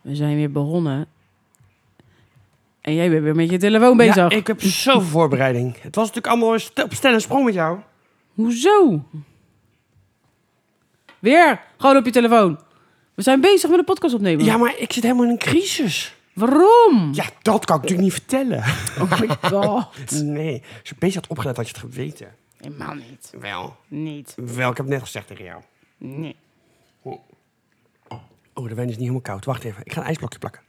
we zijn weer begonnen. En jij bent weer met je telefoon bezig. Ja, ik heb zoveel voorbereiding. Het was natuurlijk allemaal st- op stel en sprong met jou. Hoezo? Weer gewoon op je telefoon. We zijn bezig met een podcast opnemen. Ja, maar ik zit helemaal in een crisis. Waarom? Ja, dat kan ik natuurlijk niet vertellen. Oh my god. Nee, als je bezig had opgelet, had je het geweten. Helemaal niet. Wel, Niet. wel, ik heb het net gezegd tegen jou. Nee. Oh, de wijn is niet helemaal koud. Wacht even, ik ga een ijsblokje plakken.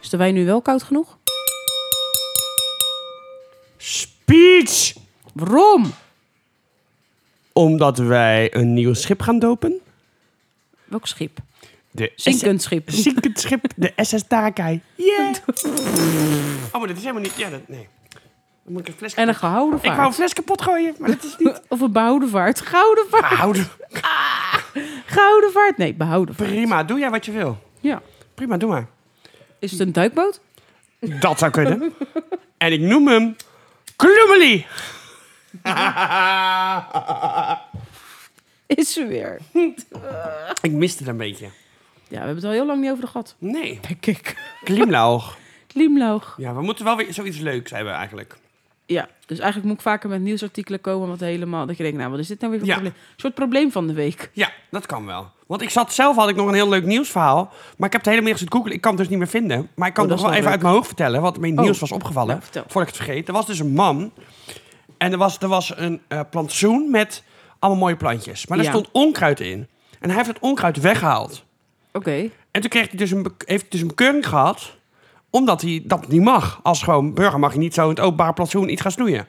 Is de wijn nu wel koud genoeg? Speech! Waarom? Omdat wij een nieuw schip gaan dopen. Welk schip? De Zinkend schip. SS zinkend schip, de SS Tarakai. Yeah! oh, maar dat is helemaal niet... Ja, dat... Nee. Dan moet ik een fles... En een gehouden Ik wou een vaart. fles kapot gooien, maar dat is niet... Of een behouden vaart. Gouden vaart. Houden. Gouden vaart. Nee, behouden vaart. Prima, doe jij wat je wil. Ja. Prima, doe maar. Is het een duikboot? Dat zou kunnen. en ik noem hem Kloemeli. Is ze weer. ik miste het een beetje. Ja, we hebben het al heel lang niet over de gat. Nee, Denk ik. Klimlaug. Glimlach. Ja, we moeten wel weer zoiets leuks hebben eigenlijk. Ja, dus eigenlijk moet ik vaker met nieuwsartikelen komen wat helemaal... Dat je denkt, nou, wat is dit nou weer voor Ja. probleem? Een soort probleem van de week. Ja, dat kan wel. Want ik zat zelf, had ik nog een heel leuk nieuwsverhaal. Maar ik heb het hele middag zitten googelen. Ik kan het dus niet meer vinden. Maar ik kan Oh, dat het nog is wel wel even leuk. uit mijn hoofd vertellen. Wat me in het Oh. nieuws was opgevallen. Nou, vertel. voordat ik het vergeet. Er was dus een man. En er was, er was een eh, plantsoen met allemaal mooie plantjes. Maar daar Ja. stond onkruid in. En hij heeft het onkruid weggehaald. Oké. En toen kreeg hij dus een, be- heeft hij dus een bekeuring gehad. Omdat hij dat niet mag. Als gewoon burger mag je niet zo in het openbaar plantsoen iets gaan snoeien.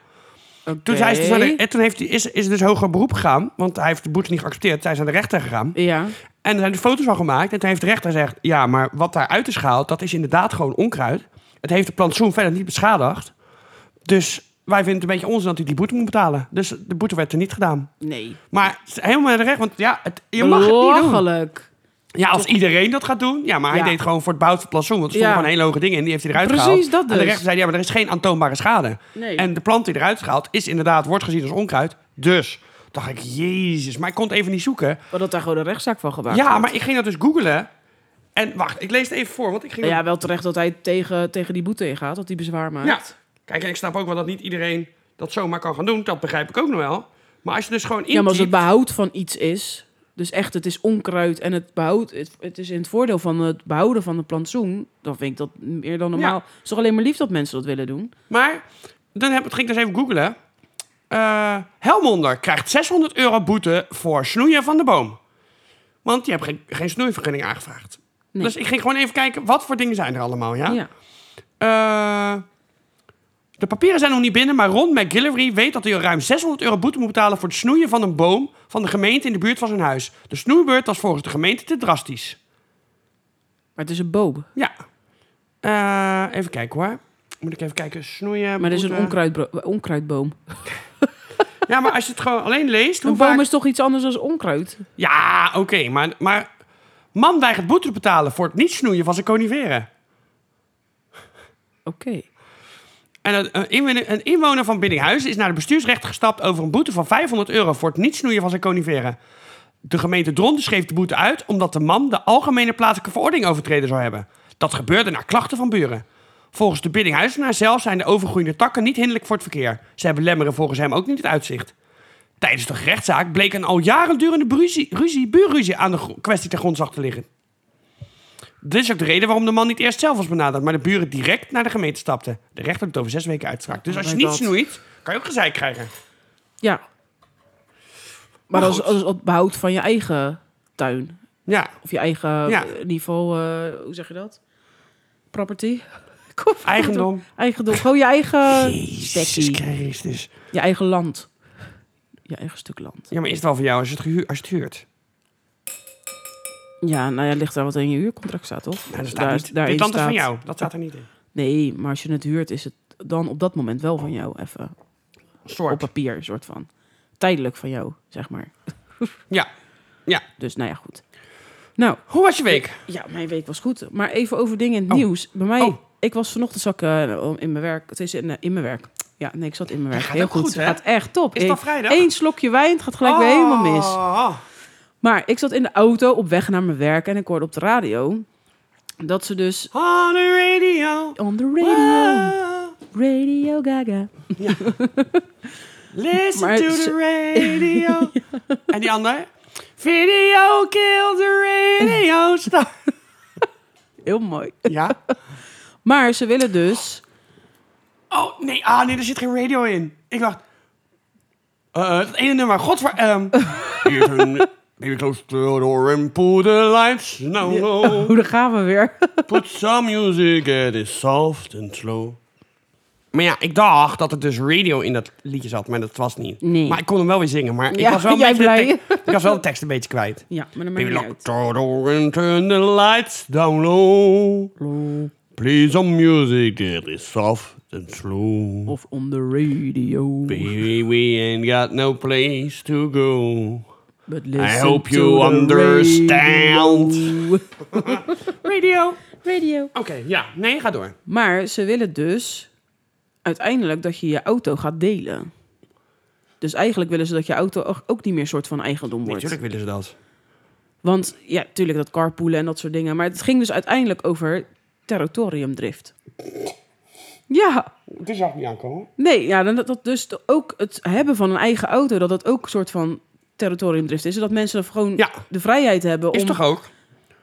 Toen, zei ze dus naar de- en toen heeft hij, is, is er dus hoger beroep gegaan. Want hij heeft de boete niet geaccepteerd. Zij is aan de rechter gegaan. Ja. En er zijn dus foto's van gemaakt. En toen heeft de rechter gezegd... ja, maar wat daaruit is gehaald... dat is inderdaad gewoon onkruid. Het heeft de plantsoen verder niet beschadigd. Dus wij vinden het een beetje onzin dat hij die boete moet betalen. Dus de boete werd er niet gedaan. Nee. Maar het is helemaal naar de recht, want ja, het, je mag het niet doen. Belachelijk. Ja, als iedereen dat gaat doen. Ja, maar hij Ja. deed het gewoon voor het bouwen van het plantsoen. Want er stonden Ja. gewoon hele hoge dingen in. Die heeft hij eruit Precies, gehaald. dat En de dus. rechter zei, ja, maar er is geen aantoonbare schade. Nee. En de plant die eruit is gehaald is inderdaad, wordt gezien als onkruid. Dus dacht ik, jezus. Maar ik kon het even niet zoeken. Maar dat daar gewoon een rechtszaak van gemaakt Ja, wordt. maar ik ging dat dus googlen. En wacht, ik lees het even voor, want ik ging... Ja, wel terecht dat hij tegen, tegen die boete ingaat, dat hij bezwaar maakt. Ja. Kijk, en ik snap ook wel dat niet iedereen dat zomaar kan gaan doen. Dat begrijp ik ook nog wel. Maar als je dus gewoon Ja, maar als het intypt- behoud van iets is, dus echt het is onkruid en het behoud, het, het is in het voordeel van het behouden van de plantsoen, dan vind ik dat meer dan normaal. Het is toch alleen maar lief dat mensen dat willen doen? Maar dan heb, ging ik dus even googlen. Eh, Helmonder krijgt 600 euro boete voor snoeien van de boom. Want je hebt geen, geen snoeivergunning aangevraagd. Nee. Dus ik ging gewoon even kijken, wat voor dingen zijn er allemaal, ja? Ja. Eh, de papieren zijn nog niet binnen, maar Ron McGillivray weet dat hij al ruim 600 euro boete moet betalen voor het snoeien van een boom van de gemeente in de buurt van zijn huis. De snoeibeurt was volgens de gemeente te drastisch. Maar het is een boom. Ja. Eh, even kijken hoor. Moet ik even kijken, snoeien. Maar er is een boete. onkruidbro- eh, onkruidboom. Ja, maar als je het gewoon alleen leest, hoe Een vaak... boom is toch iets anders dan onkruid? Ja, oké, maar, maar man weigert boete te betalen voor het niet snoeien van zijn coniferen. Oké. En een- een inwoner, een inwoner van Biddinghuizen is naar de bestuursrechter gestapt over een boete van 500 euro voor het niet snoeien van zijn coniferen. De gemeente Dronten schreef de boete uit omdat de man de algemene plaatselijke verordening overtreden zou hebben. Dat gebeurde naar klachten van buren. Volgens de Biddinghuizenaar zelf zijn de overgroeiende takken niet hinderlijk voor het verkeer. Zij belemmeren volgens hem ook niet het uitzicht. Tijdens de rechtszaak bleek een al jaren durende bruzie- ruzie, buurruzie aan de gro- kwestie ten grondslag te liggen. Dit is ook de reden waarom de man niet eerst zelf was benaderd, maar de buren direct naar de gemeente stapten. De rechter doet over zes weken uitspraak. Dus Oh als je my niet God. snoeit, kan je ook gezeik krijgen. Ja. Maar, als, goed. als het behoud van je eigen tuin. Ja, Of je eigen, Ja. in ieder geval, eh, hoe zeg je dat? Property? Kom, eigendom. Eigendom. Gewoon je eigen... Jezus Stekkie. Christus. Je eigen land. Je eigen stuk land. Ja, maar is het wel van jou als je het, gehuur, als je het huurt? Ja, nou ja, ligt daar wat in je huurcontract staat, toch? Dus Nou, dat staat Daar- niet. daarin Dit land is van staat- jou. Dat staat er niet in. Nee, maar als je het huurt, is het dan op dat moment wel van jou. Even op Soort. papier, een soort van. Tijdelijk van jou, zeg maar. Ja. Ja. Dus nou ja, goed. Nou, Hoe was je week? ja, mijn week was goed. Maar even over dingen in het Oh. nieuws. Bij mij, Oh. ik was vanochtend zak eh, in mijn werk. Het is in, eh, in mijn werk. Ja, nee, ik zat in mijn werk. gaat Heel ook goed. goed, hè? gaat echt top. Is het al Ik- vrijdag? Eén slokje wijn, het gaat gelijk weer helemaal mis. Oh. Maar ik zat in de auto op weg naar mijn werk en ik hoorde op de radio dat ze dus On the radio. Ah, on the radio, Radio Gaga. Listen Maar to ze- the radio. En die ander? Video kill the radio star. Heel mooi. Ja? Maar ze willen dus Oh, nee. Ah, nee, er zit geen radio in. Ik dacht... eh dat ene nummer. Godver... ehm, hier is een- Baby close to the door and put the lights down low. hoe daar gaan we weer. Put some music that is soft and slow. Maar ja, ik dacht dat er dus radio in dat liedje zat, maar dat was niet. Nee. Maar ik kon hem wel weer zingen, maar Ja, ik, was wel een jij beetje de blij? tekst- ik was wel de tekst een beetje kwijt. Ja, maar dan maakt Baby niet lock uit. the door and turn the lights down low. Play some music that is soft and slow. Of on the radio. Baby, we ain't got no place to go. But listen hope to you the understand. radio. Radio. Oké, radio. ja. Nee, ga door. Maar ze willen dus uiteindelijk dat je je auto gaat delen. Dus eigenlijk willen ze dat je auto ook- ook niet meer soort van eigendom wordt. Natuurlijk willen ze dat. Want ja, tuurlijk dat carpoolen en dat soort dingen. Maar het ging dus uiteindelijk over territoriumdrift. Ja, Het zag niet aankomen. nee, ja, dan dat, dat dus de- ook het hebben van een eigen auto, dat dat ook een soort van territoriumdrift is. Zodat mensen er gewoon Ja. de vrijheid hebben Is om toch ook?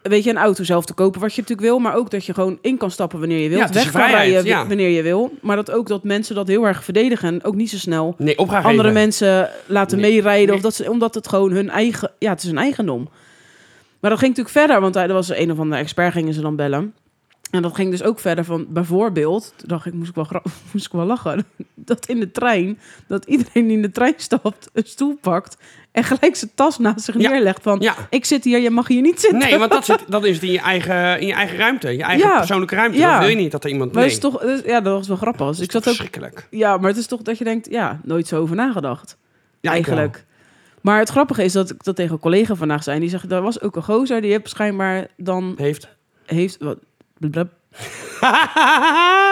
weet je, een auto zelf te kopen wat je natuurlijk wil. Maar ook dat je gewoon in kan stappen wanneer je wilt. Ja, het is weg je kan vrijheid, rijden ja. w- wanneer je wil. Maar dat ook dat mensen dat heel erg verdedigen. En ook niet zo snel Nee, opgegeven. andere mensen laten Nee, meerijden. nee. Of dat ze, omdat het gewoon hun eigen... Ja, het is hun eigendom. Maar dat ging natuurlijk verder. Want hij- er was een of andere expert, gingen ze dan bellen. En dat ging dus ook verder van bijvoorbeeld, toen dacht ik, moest ik wel, gra- moest ik wel lachen, dat in de trein, dat iedereen die in de trein stapt, een stoel pakt en gelijk zijn tas naast zich Ja. neerlegt van, Ja. ik zit hier, je mag hier niet zitten. Nee, want dat, zit, dat is het in je eigen, in je eigen ruimte. Je eigen Ja. persoonlijke ruimte. Ja. Dat wil je niet dat er iemand... Maar Nee. het is toch, het is- ja, dat was wel grappig. Dus ik zat ook, Verschrikkelijk. ja, maar het is toch dat je denkt, ja, nooit zo over nagedacht. Ja, ik wel. eigenlijk. Maar het grappige is dat ik dat tegen een collega vandaag zei. en Die zegt, daar was ook een gozer, die heeft schijnbaar dan... eh, Heeft. Heeft, wat, blub.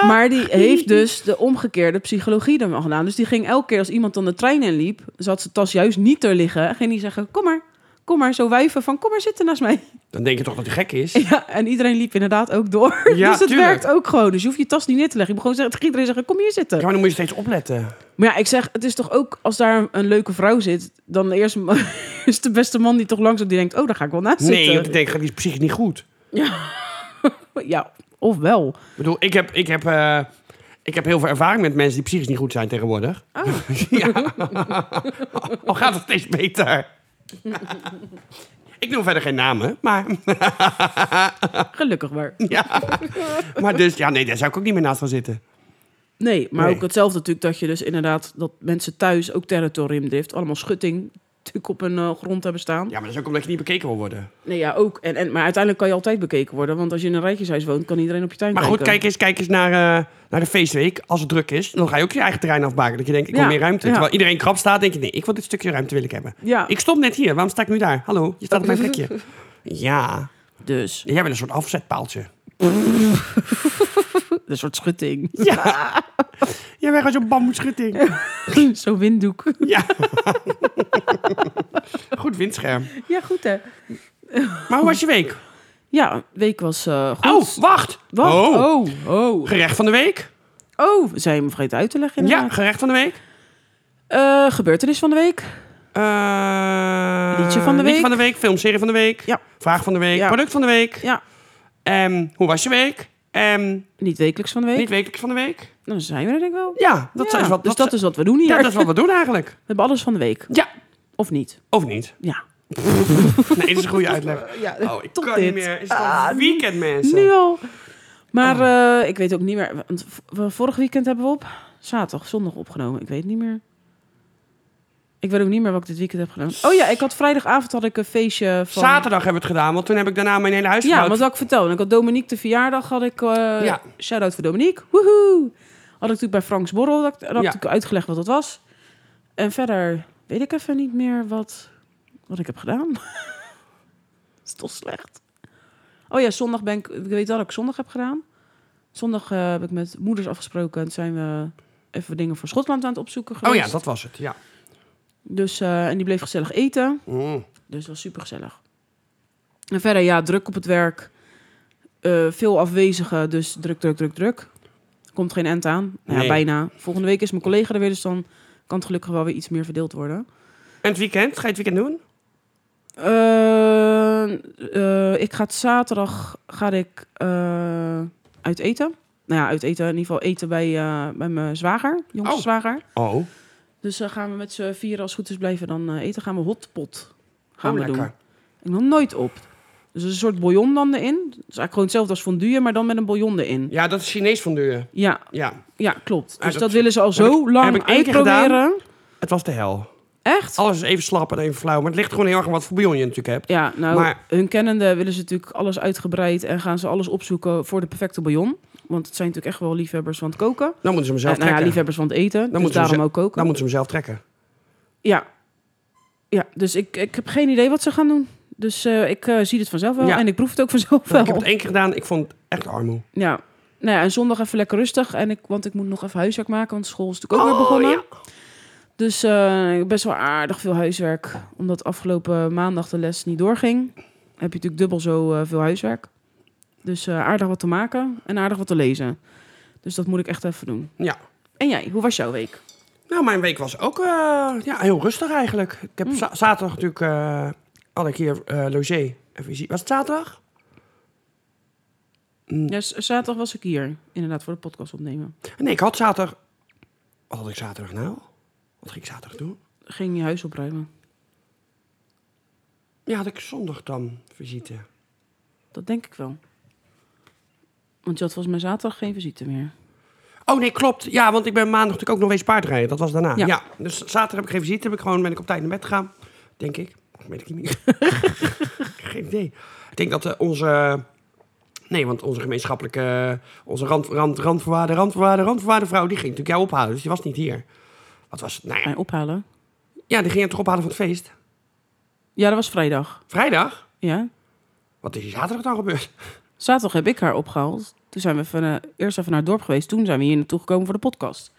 maar die heeft dus de omgekeerde psychologie dan wel gedaan. Dus die ging elke keer als iemand dan de trein inliep... zat zijn tas juist niet er liggen. Ging die zeggen, kom maar, kom maar, zo wijven van kom maar zitten naast mij. Dan denk je toch dat hij gek is? Ja, en iedereen liep inderdaad ook door. Ja, dus het tuurlijk. werkt ook gewoon. Dus je hoeft je tas niet neer te leggen. Je moet gewoon zeggen, tegen iedereen zeggen, kom hier zitten. Ja, maar dan moet je steeds opletten. Maar ja, ik zeg, het is toch ook als daar een leuke vrouw zit, dan eerst is de beste man die toch langs op die denkt, oh, daar ga ik wel naast Nee, want zitten. ik denk, die is psychisch niet goed. Ja, of wel. Ik bedoel, ik heb, ik, heb, eh, ik heb heel veel ervaring met mensen die psychisch niet goed zijn tegenwoordig. Oh. ja. Al gaat het steeds beter. ik noem verder geen namen, maar... Gelukkig maar. ja. Maar dus, ja, nee, daar zou ik ook niet meer naast gaan zitten. Nee, maar Nee. ook hetzelfde natuurlijk dat je dus inderdaad dat mensen thuis ook territoriumdrift, allemaal schutting natuurlijk op hun eh, grond hebben staan. Ja, maar dat is ook omdat je niet bekeken wil worden. Nee, ja, ook. En, en, maar uiteindelijk kan je altijd bekeken worden, want als je in een rijtjeshuis woont, kan iedereen op je tuin Maar goed, kijken. kijk eens, kijk eens naar, eh, naar de feestweek. Als het druk is, dan ga je ook je eigen terrein afbaken. Dat je denkt, ik wil Ja, meer ruimte. ja. Terwijl iedereen krap staat, denk je, nee, ik wil dit stukje ruimte wil ik hebben. Ja, Ik stond net hier, waarom sta ik nu daar? Hallo, je staat op mijn plekje. Ja, dus jij bent een soort afzetpaaltje. een soort schutting. Ja. Jij bent gewoon zo'n bamboeschutting. Zo'n winddoek. Ja. Goed windscherm. Ja, goed hè. Maar hoe was je week? Ja, week was eh, Oh, goed. wacht. Wat? Oh. oh, oh. Gerecht van de week? Oh, zijn we hem vergeten uit te leggen Ja, inderdaad. gerecht van de week. Eh, gebeurtenis van de week. Eh, Liedje van de week. van de week, filmserie van de week. Ja. Vraag van de week, Ja. product van de week. Ja, Ehm, hoe was je week? Ehm, niet wekelijks van de week. niet wekelijks van de week? Nou, dan zijn we er denk ik wel. Ja, dat Ja, is wat, dus dat dat is wat we doen hier. ja, dat is wat we doen eigenlijk. We hebben alles van de week. Ja, Of niet. of niet? Ja. Nee, dit is een goede uitleg. ja Oh, ik tot kan dit. Ah, niet meer. Is het al weekend, mensen? Nu al. Maar eh, ik weet ook niet meer. Want v- we- vorig weekend hebben we op zaterdag, zondag opgenomen. Ik weet niet meer. Ik weet ook niet meer wat ik dit weekend heb gedaan. Oh ja, ik had vrijdagavond had ik een feestje van... Zaterdag hebben we het gedaan, want toen heb ik daarna mijn hele huis Ja, gebouwd. want wat ik vertelde. Ik had Dominique de verjaardag, had ik... eh Ja. Shout-out voor Dominique. Woehoe! Had ik natuurlijk bij Franks Borrel, dat, dat had ik uitgelegd wat dat was. En verder weet ik even niet meer wat, wat ik heb gedaan. is toch slecht. Oh ja, zondag ben ik... Ik weet wel dat ik zondag heb gedaan. Zondag eh, heb ik met moeders afgesproken. En toen zijn we even dingen voor Schotland aan het opzoeken Oh geweest. ja, dat was het. Ja. Dus, eh, en die bleef gezellig eten. Mm. Dus dat was super gezellig. En verder, ja, druk op het werk. Eh, veel afwezigen, dus druk, druk, druk, druk. Komt geen end aan. Nou ja, Nee. bijna. Volgende week is mijn collega er weer, dus dan kan het gelukkig wel weer iets meer verdeeld worden. En het weekend? Ga je het weekend doen? Eh, eh, ik ga het zaterdag ga ik, eh, uit eten. Nou ja, uit eten, in ieder geval eten bij, eh, bij mijn zwager, jongste Oh. zwager. Oh, Dus dan gaan we met z'n vieren, als het goed is, blijven dan eh, eten. Gaan we hotpot gaan gaan we Oh, lekker. doen. Ik nog nooit op. Dus er is een soort bouillon dan erin. Het is eigenlijk gewoon hetzelfde als fondue, maar dan met een bouillon erin. Ja, dat is Chinees fondue. Ja, Ja, ja klopt. Dus Ah, dat, dat willen ze al heb zo lang heb ik één keer uitproberen. het was de hel. Echt? Alles is even slap en even flauw. Maar het ligt gewoon heel erg aan wat voor bouillon je natuurlijk hebt. Ja, nou, Maar- hun kennende willen ze natuurlijk alles uitgebreid... en gaan ze alles opzoeken voor de perfecte bouillon. Want het zijn natuurlijk echt wel liefhebbers van het koken. Eh, Dan moeten ze hem zelf nou ja, trekken. liefhebbers van het eten. dus moeten ze daarom ze- ook koken. Dan moeten ze hem zelf trekken. Ja. Ja, dus ik, ik heb geen idee wat ze gaan doen. Dus eh, ik eh, zie het vanzelf wel. Ja. En ik proef het ook vanzelf wel. Ik heb het één keer gedaan. Ik vond het echt armoe. Ja. Nou ja, en zondag even lekker rustig. En ik, want ik moet nog even huiswerk maken, want school is natuurlijk ook weer Oh, begonnen. ja. Dus eh, best wel aardig veel huiswerk. Omdat afgelopen maandag de les niet doorging, heb je natuurlijk dubbel zo eh, veel huiswerk. Dus eh, aardig wat te maken en aardig wat te lezen. Dus dat moet ik echt even doen. Ja. En jij, hoe was jouw week? Nou, mijn week was ook eh, ja, heel rustig eigenlijk. Ik heb za- zaterdag natuurlijk... eh had ik hier eh logé. Even zien. Was het zaterdag? Ja, z- zaterdag was ik hier, inderdaad, voor de podcast opnemen. Nee, ik had zaterdag... Wat had ik zaterdag nou? Wat ging ik zaterdag doen? Ging je huis opruimen? Ja, had ik zondag dan visite. Dat denk ik wel. Want je had volgens mij zaterdag geen visite meer. Oh nee, klopt. Ja, want ik ben maandag natuurlijk ook nog eens paardrijden. Dat was daarna. Ja. Ja. Dus zaterdag heb ik geen visite. Heb ik gewoon, ben ik op tijd naar bed gegaan. Denk ik. Of weet ik niet. geen idee. Ik denk dat eh, onze... Nee, want onze gemeenschappelijke... eh, Onze rand, rand, randvoorwaarde, randvoorwaarde, randvoorwaarde vrouw... die ging natuurlijk jou ophalen. Dus die was niet hier. Wat was het? Nou ja, Mij ophalen? ja, die ging je toch ophalen van het feest? Ja, dat was vrijdag. Vrijdag? Ja. Wat is hier zaterdag dan gebeurd? Zaterdag heb ik haar opgehaald. Toen zijn we even, eh, eerst even naar het dorp geweest. Toen zijn we hier naartoe gekomen voor de podcast.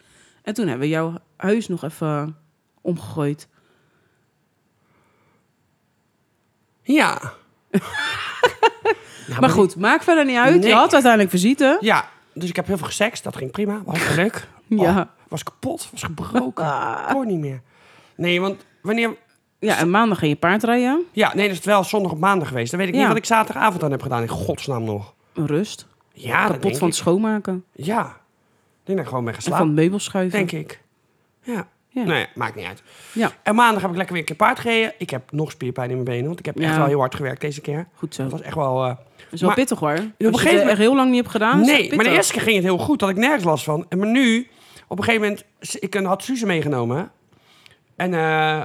En toen hebben we jouw huis nog even omgegooid. Ja. Ja, maar goed, maakt verder niet uit. Nee. Je had uiteindelijk visite. Ja, dus ik heb heel veel gesext. Dat ging prima. Was leuk. Ja. Ah. Oh, was kapot. Was gebroken. Kon niet meer. Nee, want wanneer... Ja, en maandag ging je paardrijden. Ja, nee, dat is wel zondag op maandag geweest. Dan weet ik Ja. niet wat ik zaterdagavond dan heb gedaan. In godsnaam nog. Rust. Ja, dat Kapot denk van ik. het schoonmaken. Ja. Ik denk dat ik gewoon En van ben geslapen. het meubel schuiven. Denk ik. Ja. Ja. Nee, maakt niet uit. Ja, En maandag heb ik lekker weer een keer paard gereden. Ik heb nog spierpijn in mijn benen, want ik heb Ja. echt wel heel hard gewerkt deze keer. goed zo. Dat Dat was echt wel... eh, is wel maar- pittig hoor. Als je gegeven het eh, moment- echt heel lang niet hebt gedaan. is het Nee, maar de pittig. eerste keer ging het heel goed. Had ik nergens last van. En maar nu, op een gegeven moment, s- ik eh, had Suze meegenomen. En eh,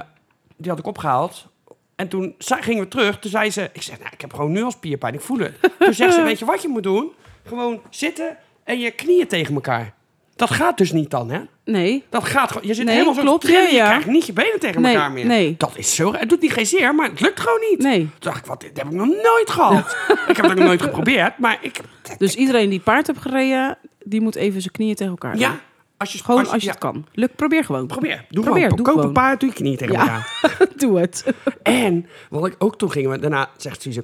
die had ik opgehaald. En toen za- gingen we terug. Toen zei ze, ik zeg, nou, ik heb gewoon nu al spierpijn. Ik voel het. Toen zegt ze, weet je wat je moet doen? Gewoon zitten en je knieën tegen elkaar. Dat gaat dus niet dan, hè? Nee. Dat gaat gewoon. Je zit Nee, helemaal zo te klopt, trillen, ja, ja. Je krijgt niet je benen tegen Nee, elkaar meer. nee. Dat is zo raar. Het doet niet geen zeer, maar het lukt gewoon niet. Nee. Toen dacht ik, wat, dit heb ik nog nooit gehad. ik heb het ook nog nooit geprobeerd, maar ik... Dus iedereen die paard hebt gereden, die moet even zijn knieën tegen elkaar. doen. Ja, als je... Gewoon als je ja. het kan. Luk, probeer gewoon. Probeer. Doe Probeer, gewoon. doe Koop gewoon. een paard, doe je knieën tegen Ja. elkaar. Doe het. En, wat ik ook toen gingen we... Daarna zegt Suze,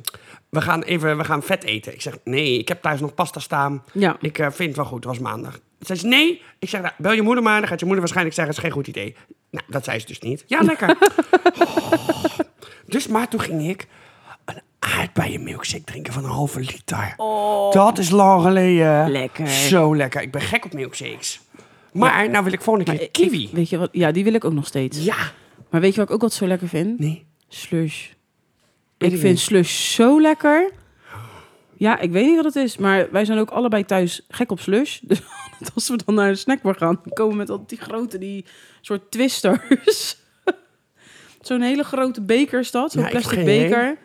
we gaan even we gaan vet eten. Ik zeg, nee, ik heb thuis nog pasta staan. Ja. Ik eh, vind het wel goed, het was maandag. Zei ze, nee. Ik zeg, nou, bel je moeder maar. Dan gaat je moeder waarschijnlijk zeggen, het is geen goed idee. Nou, dat zei ze dus niet. Ja, lekker. Oh. Dus, maar toen ging ik een aardbeienmilkshake drinken van een halve liter. Dat is lang geleden. Oh. Lekker. Zo lekker. Ik ben gek op milkshakes. Maar, nou wil ik volgende keer kiwi. Ik- weet je wat? Ja, die wil ik ook nog steeds. ja. Maar weet je wat ik ook wat zo lekker vind? Nee. Slush. Weet ik ik vind niet. slush zo lekker. Ja, ik weet niet wat het is, maar wij zijn ook allebei thuis gek op slush. Dus als we dan naar een snackbar gaan, dan komen we met al die grote, die soort twisters. zo'n hele grote beker is dat, zo'n Ja, ik heb plastic geen idee. beker.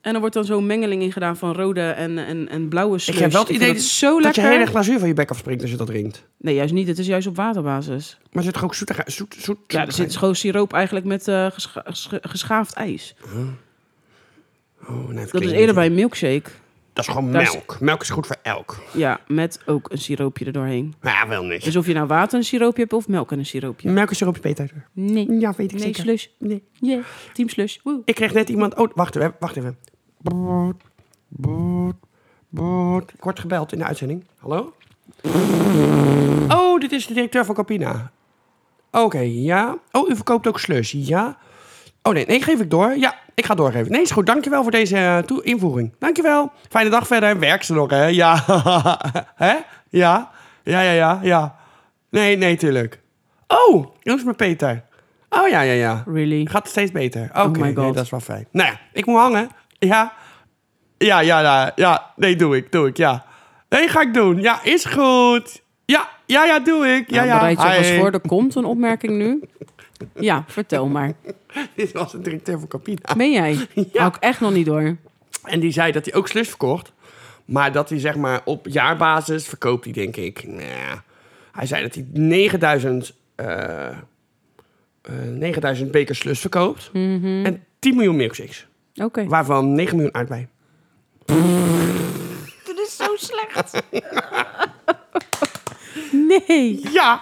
En er wordt dan zo'n mengeling in gedaan van rode en, en, en blauwe slush. Ik heb wel het vind idee dat zo dat lekker. je hele glazuur van je bek afspringt als je dat drinkt. Nee, juist niet. Het is juist op waterbasis. Maar er zit toch ook zoet... zoet, zoet Ja, er zit gewoon siroop eigenlijk met eh, gescha- gescha- geschaafd ijs. Oh, nee, Dat is eerder bij een milkshake. Dat is gewoon Daar is- melk. Melk is goed voor elk. Ja, met ook een siroopje erdoorheen. Maar ja, wel niks. Dus of je nou water en een siroopje hebt of melk en een siroopje. Melk is erop beter. Nee. Ja, weet ik Nee, zeker. slush. Nee. Yeah. Team slush. Woe. Ik kreeg net iemand... Oh, wacht even. Wacht even. Boet, boet, boet. Ik word gebeld in de uitzending. Hallo? Oh, dit is de directeur van Campina. Oké, ja. Oh, u verkoopt ook slush. Ja. Oh nee, nee, geef ik door. Ja, ik ga doorgeven. Nee, is goed. Dankjewel voor deze eh, toe- invoering. Dankjewel. Fijne dag verder. Werk ze nog, hè? Ja. hè? Ja. Ja, ja, ja, ja. Nee, nee, tuurlijk. Oh, dat is mijn Peter. Oh ja, ja, ja. Really? Gaat steeds beter. Oh, Oké, Oh my nee, God. dat is wel fijn. Nou ja, ik moet hangen. Ja. Ja, ja, ja. Ja, nee, doe ik. Doe ik, ja. Nee, ga ik doen. Ja, is goed. Ja, ja, ja, doe ik. Ja, Nou, ja. Bereid je alvast Hi. voor, er komt een opmerking nu. Ja, vertel maar. Dit was de directeur van Campina. Ben jij? Hou ik echt nog niet door. En die zei dat hij ook slush verkocht. Maar dat hij zeg maar op jaarbasis verkoopt hij denk ik. nou, hij zei dat hij 9000, eh, eh, 9000 bekers slush verkoopt. Mhm. En 10 miljoen milkshakes. Oké. Waarvan 9 miljoen aardbei. Dit is zo slecht. nee. Ja!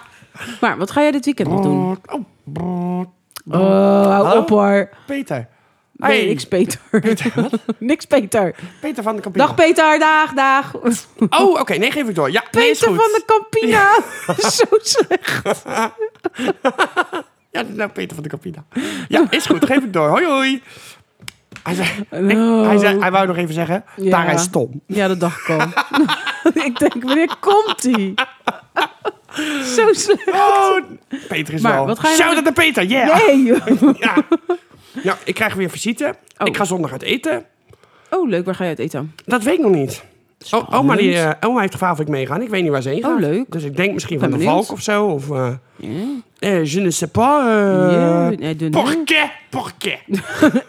Maar wat ga jij dit weekend nog doen? Oh, brrr. Oh, hou Hallo? op hoor. Peter. Nee, niks Peter. niks Peter. Peter van de Campina. Dag Peter, dag, dag. oh, oké. nee, geef ik door. Ja, nee, is Peter goed. van de Campina. zo slecht. Ja, nou, Peter van de Campina. Ja, is goed. Geef ik door. Hoi, hoi. Hij zei, Oh. hij, zei, hij wou nog even zeggen, Ja. daar is Tom. Ja, dat dacht ik al. ik denk, wanneer komt hij? zo slecht. Oh, Peter is Maar wel. wat ga je Shout nou- out naar Peter, yeah! Nee. joh. Ja. Nou, ik krijg weer visite. Oh. Ik ga zondag uit eten. Oh, leuk. Waar ga je uit eten? Dat weet ik nog niet. Oh, oma, Spannend. die, eh, oma heeft gevraagd of ik meegaan. Ik weet niet waar ze heen Oh, gaat. leuk. Dus ik denk misschien Ben van de benieuwd. Valk of zo. Of, eh Ja. eh, je ne sais pas. eh, Ja, I don't know. Porquet, porquet.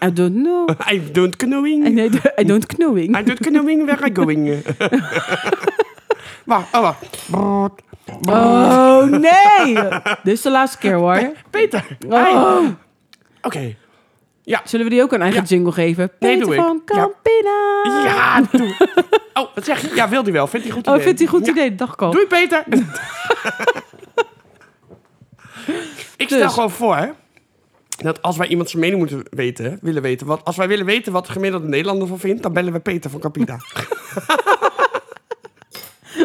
I don't know. I don't I knowing. don't, I don't knowing. I don't knowing where I going. wacht, oh wacht. Brrrt. Oh nee! Dit is de laatste keer hoor. Peter. hi. Oké. Oh. Ja, Zullen we die ook een eigen jingle geven? Nee, Peter doe ik. van Ja. Campina! Ja, doe. Oh, wat zeg je? Ja, wil hij wel. Vindt hij goed Oh, idee? ik vind die goed Ja. idee. Dag Kal. Doei, Peter. ik stel Dus. gewoon voor dat als wij iemand zijn mening moeten weten, willen weten... Wat, als wij willen weten wat de gemiddelde Nederlander van vindt... dan bellen we Peter van Capita.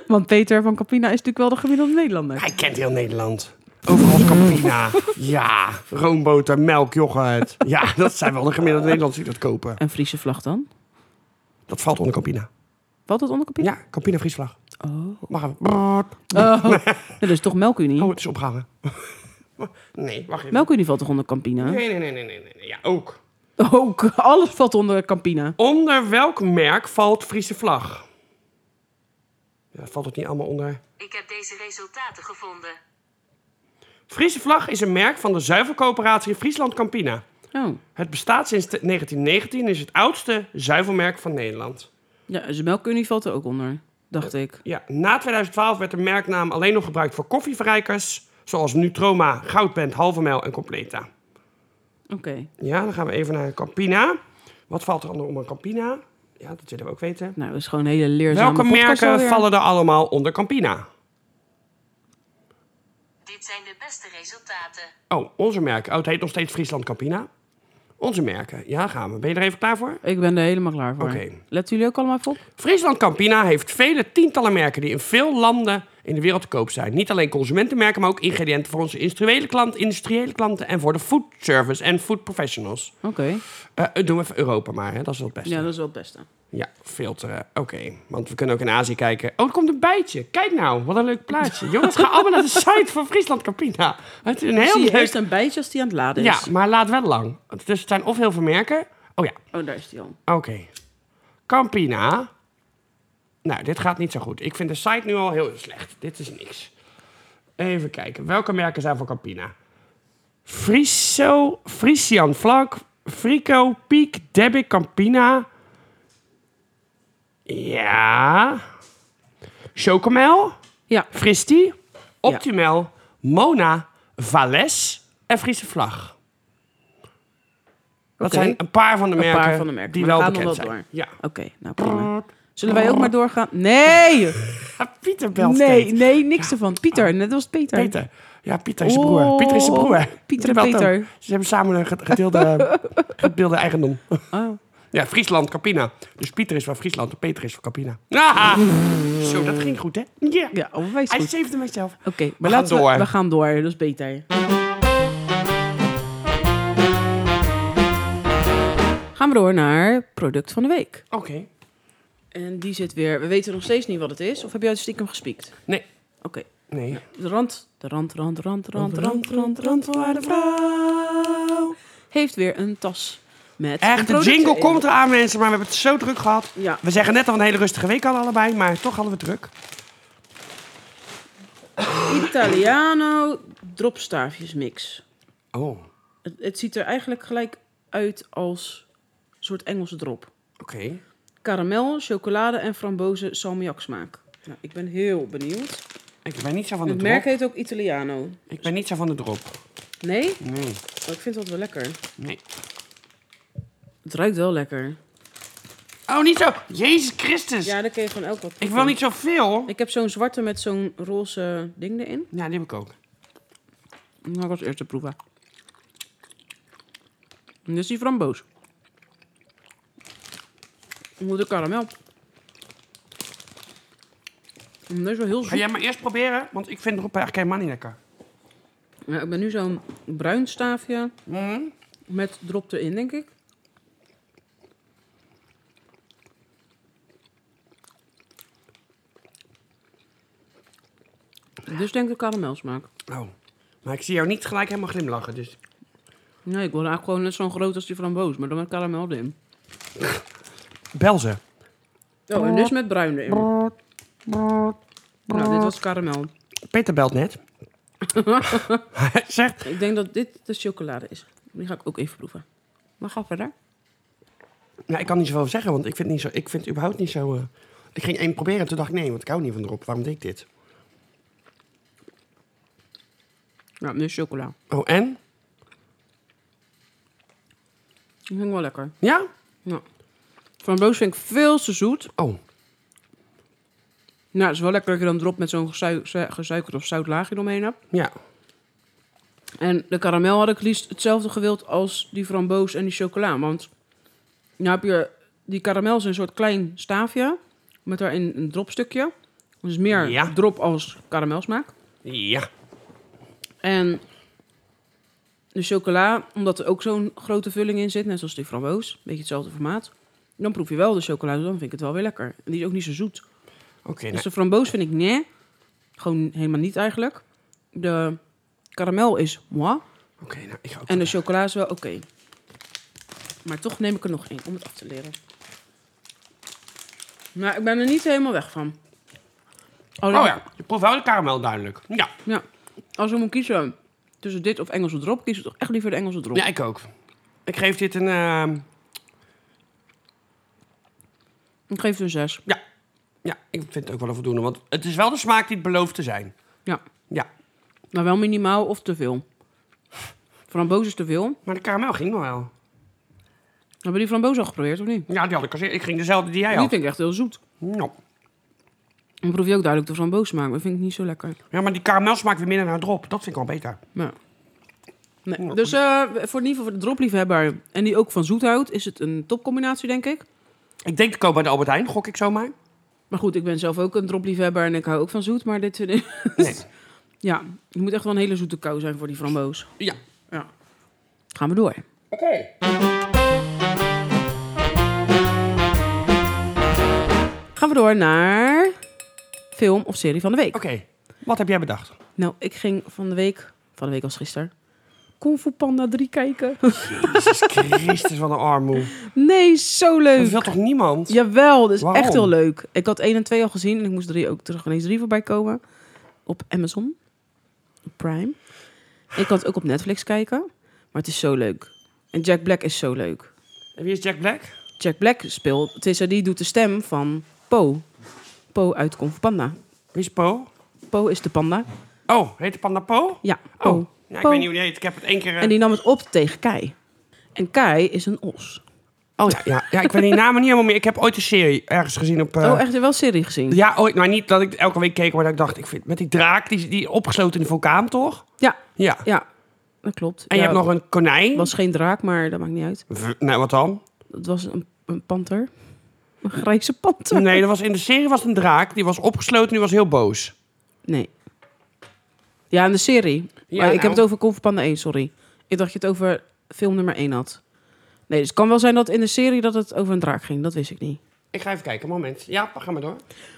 Want Peter van Campina is natuurlijk wel de gemiddelde Nederlander. Hij kent heel Nederland. Overal is Campina. Ja, roomboter, melk, yoghurt. Ja, dat zijn wel de gemiddelde Nederlanders die dat kopen. En Friese vlag dan? Dat valt onder Campina. Valt dat onder Campina? Ja, Campina Friesvlag. Oh. Mag even. Brrrt. Oh. Nee, dat is toch Melkunie? Oh, het is opgehangen. Nee, wacht even. Melkunie valt toch onder Campina? Nee, nee, nee, nee, nee, nee. nee. Ja, ook. Ook. Alles valt onder Campina. Onder welk merk valt Friese vlag? Ja, valt het niet allemaal onder? Ik heb deze resultaten gevonden. Friese vlag is een merk van de zuivelcoöperatie Friesland Campina. Oh. Het bestaat sinds te- 1919 en is het oudste zuivelmerk van Nederland. Ja, dus Melkunie valt er ook onder. Dacht ik. Ja, na 2012 werd de merknaam alleen nog gebruikt voor koffieverrijkers, zoals Nutroma, Goudband, Halve Mijl en Completa. Oké. Ja, dan gaan we even naar Campina. Wat valt er onder onder Campina? Ja, dat willen we ook weten. Nou, dat is gewoon een hele leerzame Welke podcast merken alweer. vallen er allemaal onder Campina? Dit zijn de beste resultaten. Oh, onze merken. Oh, het heet nog steeds Friesland Campina. Onze merken. Ja, gaan we. Ben je er even klaar voor? Ik ben er helemaal klaar voor. Oké. Letten jullie ook allemaal even op? Friesland Campina heeft vele tientallen merken die in veel landen in de wereld te koop zijn. Niet alleen consumentenmerken, maar ook ingrediënten voor onze instruele klanten, industriële klanten en voor de food service en food professionals. Oké. Eh, eh, doen we even Europa maar, hè? dat is wel het beste. Ja, Ja, dat is wel het beste. filteren. Oké, want we kunnen ook in Azië kijken. Oh, er komt een bijtje. Kijk nou, wat een leuk plaatje. Jongens, ga allemaal naar de site van Friesland Campina. Het is een heel Zie je leuk... eerst een bijtje als die aan het laden Ja, is. maar laat wel lang. Dus het zijn of heel veel merken. Oh ja, Oh, daar is die al. oké. Campina. Nou, dit gaat niet zo goed. Ik vind de site nu al heel slecht. Dit is niks. Even kijken. Welke merken zijn van Campina? Friso, Frisian Vlak, Frico, Piek, Debbik, Campina. Ja. Chocomel, Ja. Fristi, Optimel, Mona, Vales en Friese Vlag. Dat Oké. zijn een paar van de Een merken, paar van de merken. die Maar wel gaan we bekend wel zijn. door. Ja. Oké, nou Oh. prima. Zullen wij ook maar doorgaan? Nee! Ah, Pieter belt Nee, steeds. nee, niks ervan. Pieter, net was Peter. Peter. Ja, Pieter is zijn broer. Oh, Pieter is zijn broer. Pieter Die en belt hem. Peter. Ze hebben samen een ge- gedeelde, gedeelde eigendom. Oh. Ja, Friesland, Campina. Dus Pieter is van Friesland en Peter is van Campina. Ah, zo, dat ging goed, hè? Ja. Ja, onwijs Hij goed. zeefde mezelf. Oké, maar gaan laten door. We, we gaan door, dat is beter. Gaan we door naar product van de week. Oké. En die zit weer, we weten nog steeds niet wat het is. Of heb jij het stiekem gespiekt? Nee. Oké, Nee. de rand, de rand, rand, rand, rand, Rand, rand, rand, rand, rand voor de vrouw. heeft weer een tas met Echt, de producten jingle in. komt eraan, mensen. Maar we hebben het zo druk gehad. Ja. We zeggen net al een hele rustige week al allebei. Maar toch hadden we het druk. Italiano dropstaafjes mix. Oh, oké. Het, het ziet er eigenlijk gelijk uit als een soort Engelse drop. Karamel, chocolade en frambozen salmiak smaak. Nou, ik ben heel benieuwd. Ik ben niet zo van de Het merk drop. heet ook Italiano. Ik ben niet zo van de drop. Nee? Oh, Nee. ik vind dat wel lekker. Nee. Het ruikt wel lekker. Oh, niet zo. Jezus Christus. Ja, daar kun je van elk wat ik wil proeven. niet zoveel. Ik heb zo'n zwarte met zo'n roze ding erin. Ja, die heb ik ook. Nou, ik was eerst te proeven. En dit is die framboos. Moet de karamel. En Dat Mm, is wel heel Ga zoet. jij maar eerst proberen, want ik vind drop eigenlijk helemaal niet lekker. Ja, ik ben nu zo'n bruin staafje. Mhm. Met drop erin, denk ik. Dus denk ik karamelsmaak. Oh. Maar ik zie jou niet gelijk helemaal glimlachen, dus... Nee, ik wil eigenlijk gewoon net zo'n groot als die framboos, maar dan met karamel erin. Bel ze. Oh, en dus met bruin erin. Nou, dit was karamel. Peter belt net. Hij zegt... Ik denk dat dit de chocolade is. Die ga ik ook even proeven. Maar ga verder. Nou, ik kan niet zoveel over zeggen, want ik vind, niet zo, ik vind het überhaupt niet zo... eh, Ik ging één proberen en toen dacht ik, nee, want ik hou niet van drop. Waarom deed ik dit? Ja, Nou, nu is chocola. Oh, en? Dat vind ik wel lekker. Ja? Ja. Framboos vind ik veel te zoet. Oh. Nou, het is wel lekker dat je dan drop met zo'n gezui- zu- gesuikerd of zout laagje eromheen hebt. Ja. En de karamel had ik liefst hetzelfde gewild als die framboos en die chocola. Want nou heb je die karamel is een soort klein staafje met daarin een dropstukje. Dus meer Ja. drop als karamelsmaak. Ja. En de chocola, omdat er ook zo'n grote vulling in zit, net zoals die framboos, een beetje hetzelfde formaat. Dan proef je wel de chocola, dus dan vind ik het wel weer lekker. En die is ook niet zo zoet. Oké, nou, Dus de framboos vind ik nee. Gewoon helemaal niet eigenlijk. De karamel is moi. oké, nou, ik ga ook... En de chocola is wel oké. Maar toch neem ik er nog één om het af te leren. Maar ik ben er niet helemaal weg van. Als Oh ik- ja, je proeft wel de karamel duidelijk. Ja. ja. Als we moeten kiezen tussen dit of Engelse drop, kies ik toch echt liever de Engelse drop. Ja, ik ook. Ik geef dit een... ehm, Ik geef het een 6. Ja. Ja, ik vind het ook wel een voldoende. Want het is wel de smaak die het belooft te zijn. Ja. Ja. Maar wel minimaal of te veel. Framboos is te veel. Maar de karamel ging nog wel. Hebben we die framboos al geprobeerd of niet? Ja, die had ik al zeer- Ik ging dezelfde die jij Die had. vind ik echt heel zoet. Nou. Dan proef je ook duidelijk de framboos smaak. Dat vind ik niet zo lekker. Ja, maar die karamel smaakt weer minder naar drop. Dat vind ik wel beter. Ja. Nee. Dus eh, voor in ieder geval voor de dropliefhebber en die ook van zoet houdt, is het een topcombinatie, denk ik. Ik denk te koop bij de Albert Heijn, gok ik zomaar. Maar goed, ik ben zelf ook een dropliefhebber en ik hou ook van zoet. Maar dit vind ik... Nee. Ja, het moet echt wel een hele zoete kou zijn voor die framboos. Ja. Ja. Gaan we door. Oké. Gaan we door naar film of serie van de week. Oké. Wat heb jij bedacht? Nou, ik ging van de week, van de week was gisteren, Kung Fu Panda 3 kijken. Jezus Christus, wat een armoe. nee, zo Dat leuk. wil toch niemand? Jawel, dat is Waarom? echt heel leuk. Ik had 1 en 2 al gezien en ik moest 3 ook terug ineens 3 voorbij komen. Op Amazon, op Prime. Ik kan het ook op Netflix kijken, maar het is zo leuk. En Jack Black is zo leuk. En wie is Jack Black? Jack Black speelt, Tessa die doet de stem van Po. Po uit Kung Fu Panda. Wie is Po? Po is de panda. Oh, heet de panda Po? Ja, Po. Oh. Ja, ik Po. weet niet hoe die heet. Ik heb het één keer... eh, En die nam het op tegen Kai. En Kai is een os. Oh ja, ja, ja ik weet die namen niet helemaal meer. Ik heb ooit een serie ergens gezien op... eh, oh, echt? Je hebt wel serie gezien? Ja, ooit. Maar niet dat ik elke week keek, maar dat ik dacht... Ik vind, met die draak, die, die opgesloten in de vulkaan, toch? Ja, Ja. ja, dat klopt. En je Ja, hebt nog een konijn. Het was geen draak, maar dat maakt niet uit. V- Nee, wat dan? Het was een, een panter. Een grijze panter. Nee, dat was, in de serie was het een draak. Die was opgesloten en die was heel boos. Nee. Ja, in de serie. Ja, maar ik nou. heb het over Kung Fu Panda 1, sorry. Ik dacht je het over film nummer 1 had. Nee, dus het kan wel zijn dat in de serie dat het over een draak ging. Dat wist ik niet. Ik ga even kijken, moment. Ja, ga maar door.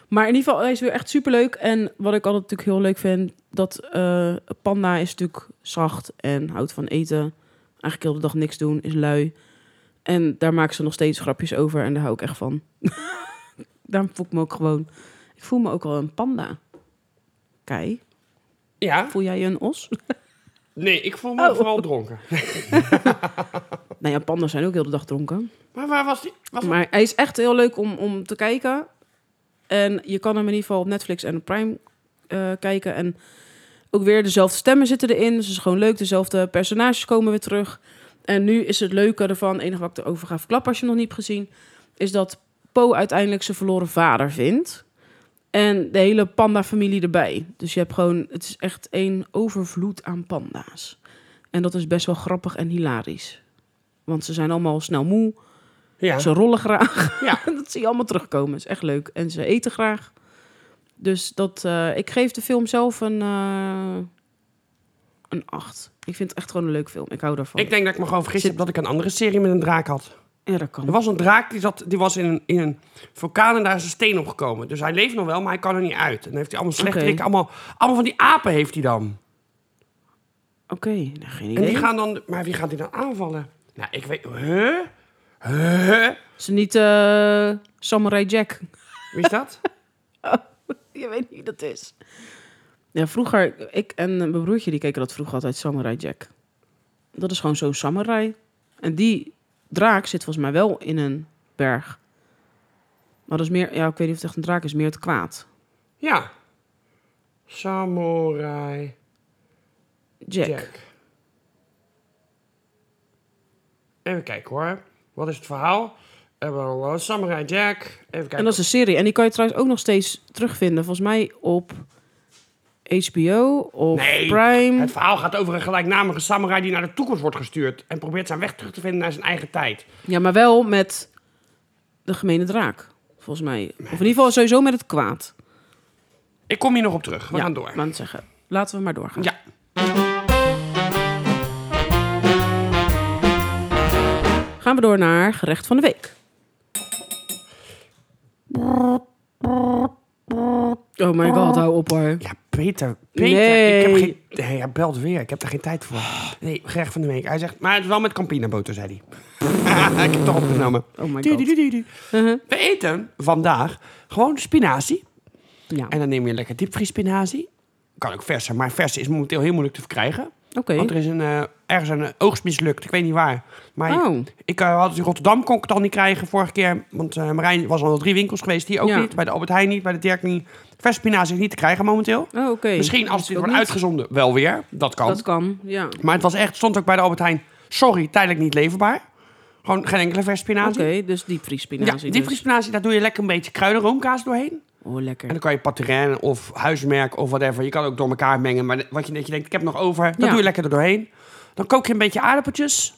Maar in ieder geval, hij is weer echt superleuk. En wat ik altijd natuurlijk heel leuk vind, dat eh, panda is natuurlijk zacht en houdt van eten. Eigenlijk heel de dag niks doen, is lui. En daar maken ze nog steeds grapjes over en daar hou ik echt van. Daarom voel ik me ook gewoon... Ik voel me ook wel een panda. Kei, Ja? voel jij je een os? Nee, ik voel me Oh. vooral dronken. nou ja, pandas zijn ook heel de dag dronken. Maar waar was die? Was het- Maar hij is echt heel leuk om, om te kijken. En je kan hem in ieder geval op Netflix en op Prime eh, kijken. En ook weer dezelfde stemmen zitten erin. Dus het is gewoon leuk. Dezelfde personages komen weer terug. En nu is het leuke ervan, het enige wat ik erover ga verklappen als je hem nog niet hebt gezien, is dat Po uiteindelijk zijn verloren vader vindt. En de hele panda-familie erbij. Dus je hebt gewoon, het is echt één overvloed aan panda's. En dat is best wel grappig en hilarisch. Want ze zijn allemaal snel moe. Ja. Ze rollen graag. ja. dat zie je allemaal terugkomen. is echt leuk. En ze eten graag. Dus dat, eh, ik geef de film zelf een, eh een 8. Ik vind het echt gewoon een leuk film. Ik hou daarvan. Ik denk dat ik me gewoon vergist heb dat ik een andere serie met een draak had. Ja, dat kan. Er was een draak die, zat, die was in een, in een vulkaan en daar is een steen opgekomen. Dus hij leeft nog wel, maar hij kan er niet uit. En dan heeft hij allemaal slecht Oké. allemaal, allemaal van die apen heeft hij dan. Oké, nou, geen En idee. die gaan dan, maar wie gaat die dan aanvallen? Nou, ik weet, huh? Huh? Ze niet eh, Samurai Jack. Wie is dat? Je weet niet wie dat is. Ja, vroeger, ik en mijn broertje, die keken dat vroeger altijd, Samurai Jack. Dat is gewoon zo'n samurai. En die draak zit volgens mij wel in een berg. Maar dat is meer, ja, ik weet niet of het echt een draak is, meer het kwaad. ja. Samurai Jack. Jack. Even kijken hoor. Wat is het verhaal? Eh, blablabla, Samurai Jack. Even kijken. En dat is een serie. En die kan je trouwens ook nog steeds terugvinden, volgens mij op HBO of Nee, Prime. Het verhaal gaat over een gelijknamige samurai die naar de toekomst wordt gestuurd en probeert zijn weg terug te vinden naar zijn eigen tijd. Ja, maar wel met de gemene draak, volgens mij. Of in ieder geval sowieso met het kwaad. Ik kom hier nog op terug. We ja, gaan door. wou net zeggen. Laten we maar doorgaan. Ja. Gaan we door naar gerecht van de week. Oh my god, hou op hoor. Ja, Peter. Peter, ik heb Nee. geen... Nee, hij belt weer. Ik heb daar geen tijd voor. Nee, gerecht van de week. Hij zegt, maar het is wel met Campina boter, zei hij. ik heb het toch opgenomen. Oh my god. Tududududu. We eten vandaag gewoon spinazie. Ja, En dan neem je lekker diepvriespinazie. Kan ook vers zijn, maar verse is momenteel heel moeilijk te verkrijgen. oké. Want er is een, eh, ergens een oogst mislukt. Ik weet niet waar. Maar Oh. ik, ik eh, had het in Rotterdam kon ik het al niet krijgen vorige keer. Want eh, Marijn was al wel drie winkels geweest. Die ook Ja. niet. Bij de Albert Heijn niet. Bij de Dirk niet. Vers spinazie is niet te krijgen momenteel. Oh, oké. Misschien als Dat het weer ook wordt niet. uitgezonden wel weer. Dat kan. Dat kan, ja. Maar het was echt, stond ook bij de Albert Heijn. Sorry, tijdelijk niet leverbaar. Gewoon geen enkele vers Oké, spinazie. dus Ja, diepvriespinazie. dus. diepvriespinazie, daar doe je lekker een beetje kruidenroomkaas doorheen. Oh, lekker. En dan kan je paterijn of huismerk of whatever. Je kan ook door elkaar mengen. Maar wat je, dat je denkt, ik heb nog over. Dat Ja. doe je lekker er doorheen. Dan kook je een beetje aardappeltjes.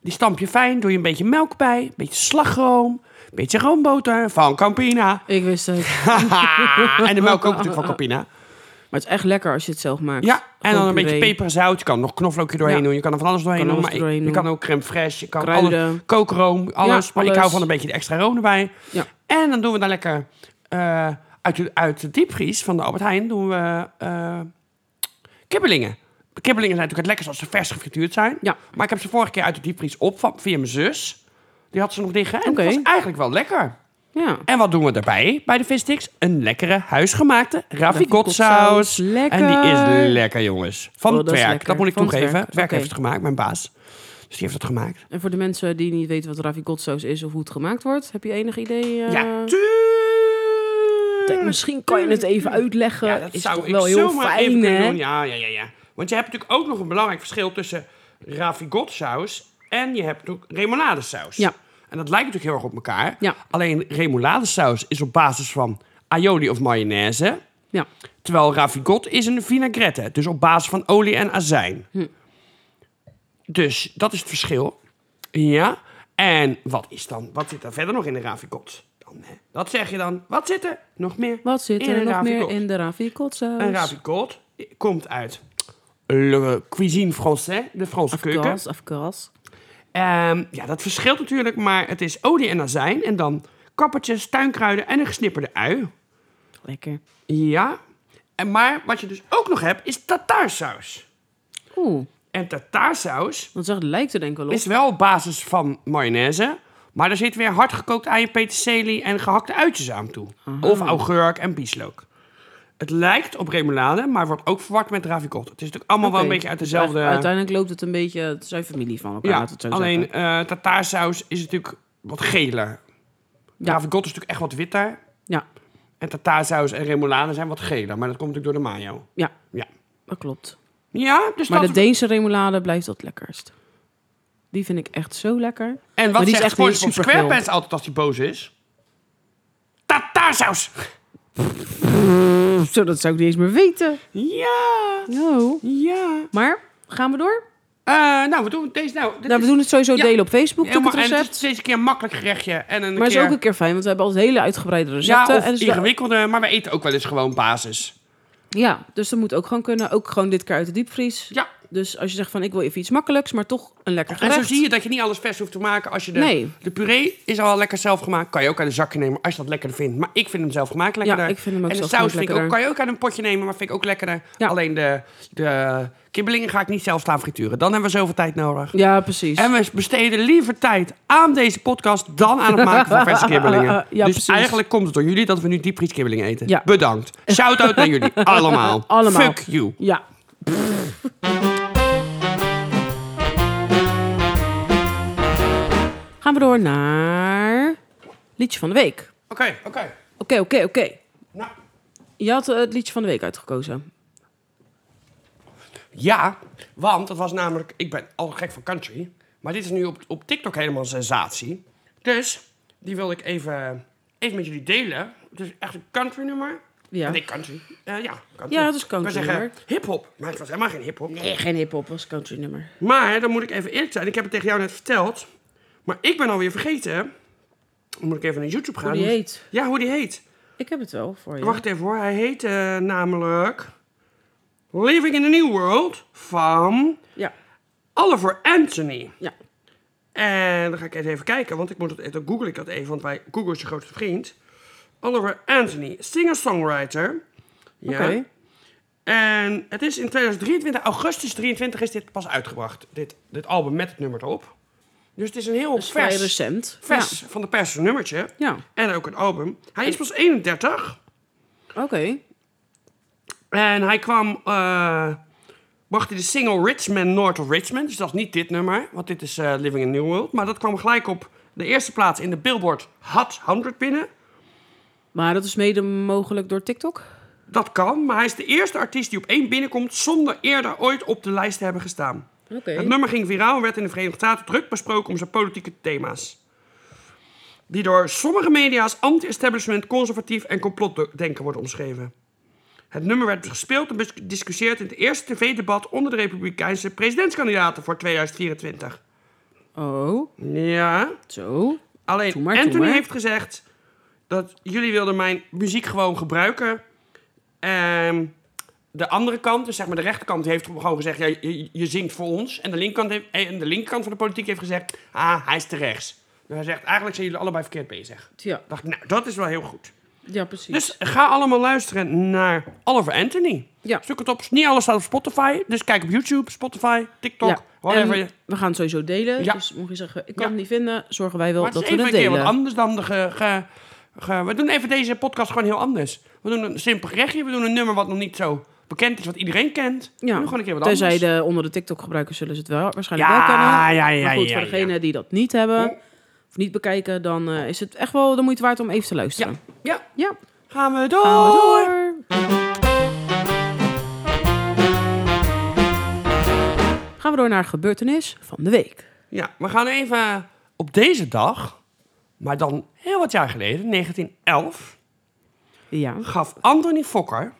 Die stamp je fijn. Doe je een beetje melk bij. Een beetje slagroom. Een beetje roomboter van Campina. Ik wist het. Haha. en de melk ook natuurlijk van Campina. Maar het is echt lekker als je het zelf maakt. Ja, en Gewoon dan een beetje puree. peper en zout. Je kan er nog knoflookje doorheen Ja. doen. Je kan er van alles doorheen Kan doen. alles maar doorheen je kan doen. ook crème fraîche. Je kan Kruiden. alle, kookroom, alles. Ja, maar ik alles. hou van een beetje de extra room erbij. Ja. En dan doen we dan lekker eh, uit, de, uit de diepvries van de Albert Heijn doen we eh, kibbelingen. Kibbelingen zijn natuurlijk het lekkerst als ze vers gefrituurd zijn. Ja. Maar ik heb ze vorige keer uit de diepvries op van, via mijn zus. Die had ze nog liggen. En Oké. dat was eigenlijk wel lekker. Ja. En wat doen we daarbij bij de vissticks? Een lekkere huisgemaakte Ravigottsaus. ravigottsaus. Lekker. En die is lekker, jongens. Van Oh, het dat is werk. lekker. Dat moet ik Van het toegeven. werk. Het werk Oké. heeft het gemaakt, mijn baas. Dus die heeft dat gemaakt. En voor de mensen die niet weten wat ravigottsaus is of hoe het gemaakt wordt, heb je enig idee? eh? ja, Kijk, tuurlijk. misschien kan je het even uitleggen. Ja, dat is zou toch ik wel heel zomaar fijn, even kunnen hè? doen. Ja, ja, ja, ja. Want je hebt natuurlijk ook nog een belangrijk verschil tussen ravigottsaus en je hebt ook remoladesaus. Ja. En dat lijkt natuurlijk heel erg op elkaar. Ja. Alleen remoladesaus is op basis van aioli of mayonaise. Ja. Terwijl ravigot is een vinaigrette, dus op basis van olie en azijn. Hm. Dus dat is het verschil. Ja. En wat is dan? Wat zit er verder nog in de ravigot? Dan, hè? Dat zeg je dan. Wat zit er nog meer? Wat zit in er een nog meer ravigot? in de ravicolsaus? Een ravigot komt uit le cuisine française, de Franse keuken. Gas, of gas. Ehm, ja, dat verschilt natuurlijk, maar het is olie en azijn en dan kappertjes, tuinkruiden en een gesnipperde ui. Lekker. Ja. En, maar wat je dus ook nog hebt, is tartaarsaus. Oeh, En tartaarsaus dat zegt, lijkt er denk ik wel op. is wel op basis van mayonaise, maar daar zit weer hardgekookt ei, peterselie en gehakte uitjes aan toe. Of augurk en bieslook. Het lijkt op remoulade, maar wordt ook verward met ravicotta. Het is natuurlijk allemaal wel Oké. een beetje uit Dus dezelfde... eigenlijk- Uiteindelijk loopt het een beetje... Het zijn familie van elkaar, Ja, laten we het zo alleen zeggen. eh tartaarsaus is natuurlijk wat geler. Ja. Ja. Ravigot is natuurlijk echt wat witter. Ja, En tartaarsaus en remoulade zijn wat geler. Maar dat komt natuurlijk door de mayo. ja, Ja, dat klopt. ja dus Maar de dat... Deense remoulade blijft het lekkerst. Die vind ik echt zo lekker. en maar wat die is zegt echt heel SpongeBob supergeel. SquarePants altijd als hij boos is? Tartaarsaus! Zo, dat zou ik niet eens meer weten. Ja! No. Ja! Maar, gaan we door? Eh, nou, we doen deze nou. Dit Nou, we is doen het sowieso Ja. delen op Facebook, natuurlijk helemaal- het en het recept. is deze keer een makkelijk gerechtje. En een maar het keer... is ook een keer fijn, want we hebben altijd hele uitgebreide ja, recepten. of en dus ingewikkelde, maar we eten ook wel eens gewoon basis. ja, dus dat moet ook gewoon kunnen. Ook gewoon dit keer uit de diepvries. Ja. Dus als je zegt van, ik wil even iets makkelijks, maar toch een lekker En gerecht. zo zie je dat je niet alles vers hoeft te maken. Als je de, Nee. de puree is al lekker zelf gemaakt. Kan je ook uit een zakje nemen als je dat lekkerder vindt. Maar ik vind hem zelf gemaakt lekkerder. ik vind hem ook en de zelf saus gemaakt vind ik ook, lekkerder. kan je ook uit een potje nemen, maar vind ik ook lekkerder. Ja. Alleen de, de kibbelingen ga ik niet zelf staan frituren. Dan hebben we zoveel tijd nodig. Ja, precies. En we besteden liever tijd aan deze podcast dan aan het maken van verse kibbelingen. Ja, dus preces. eigenlijk komt het door jullie dat we nu diepvrieskibbelingen eten. Ja. Bedankt. Shout-out naar jullie. Allemaal. Allemaal. Fuck you. Ja. Gaan we door naar liedje van de week. Oké, oké. Oké, oké, oké. Nou, Je had eh, het liedje van de week uitgekozen. Ja, want dat was namelijk... Ik ben al gek van country. Maar dit is nu op, op TikTok helemaal een sensatie. Dus die wilde ik even, even met jullie delen. Het is echt een country nummer. Ja. Nee, country. Eh, ja, country. Ja, het is country Ik wou zeggen nummer. hiphop. Maar het was helemaal geen hiphop. Nee, Eh, geen hip-hop, was country nummer. Maar dan moet ik even eerlijk zijn. Ik heb het tegen jou net verteld. Maar ik ben alweer vergeten. Dan moet ik even naar YouTube gaan. Hoe die heet. Ja, hoe die heet. Ik heb het wel voor je. Wacht even hoor. Hij heet eh, namelijk... Living in a New World van Ja, Oliver Anthony. ja. En dan ga ik even kijken, want ik moet het, dan google ik dat even, want wij Google is je grootste vriend. Oliver Anthony, singer-songwriter. Ja. Oké. En het is in 2023, augustus 23 is dit pas uitgebracht, dit, dit album met het nummer erop. Dus het is een heel is vrij vers, recent. vers van de pers nummertje. Ja, En ook een album. Hij is pas 31. oké. En hij kwam, eh bracht hij de single Richmond North of Richmond. Dus dat is niet dit nummer, want dit is eh, Living in a New World. Maar dat kwam gelijk op de eerste plaats in de Billboard Hot 100 binnen. Maar dat is mede mogelijk door TikTok? Dat kan, maar hij is de eerste artiest die op één binnenkomt zonder eerder ooit op de lijst te hebben gestaan. Oké. Het nummer ging viraal en werd in de Verenigde Staten druk besproken om zijn politieke thema's. Die door sommige media als anti-establishment, conservatief en complotdenken wordt omschreven. Het nummer werd gespeeld en gediscussieerd in het eerste tv-debat onder de Republikeinse presidentskandidaten voor 2024. Oh, Ja, zo. alleen Doe maar, doe Anthony maar. heeft gezegd dat jullie wilden mijn muziek gewoon gebruiken. Ehm, de andere kant, dus zeg maar de rechterkant, die heeft gewoon gezegd: ja, je, je zingt voor ons. En de, linkerkant heeft, eh, en de linkerkant van de politiek heeft gezegd: ah, hij is te rechts. Dus hij zegt: eigenlijk zijn jullie allebei verkeerd bezig. Ja, Dacht ik, nou, dat is wel heel goed. ja precies. Dus ga allemaal luisteren naar Oliver Anthony. ja. Zoek het op. Niet alles staat op Spotify. Dus kijk op YouTube, Spotify, TikTok, Ja. whatever. je- En we gaan het sowieso delen. Ja. Dus mocht je zeggen, ik kan Ja. het niet vinden, zorgen wij wel Maar het dat is we even het een keer wat delen. anders dan de ge, ge- ge- We doen even deze podcast gewoon heel anders. We doen een simpel gerechtje. We doen een nummer wat nog niet zo bekend is, wat iedereen kent. We Ja. doen gewoon een keer wat Tenzij anders. de, onder de TikTok-gebruikers zullen ze het wel waarschijnlijk wel kennen. Ja, ja, ja, maar goed, ja, voor ja. Oh. degenen die dat niet hebben of niet bekijken, dan eh, is het echt wel de moeite waard om even te Ja, luisteren. ja. Ja, Gaan we door. gaan we door. Gaan we door naar gebeurtenis van de week. Ja, we gaan even op deze dag, maar dan heel wat jaar geleden, 1911, Ja. gaf Anthony Fokker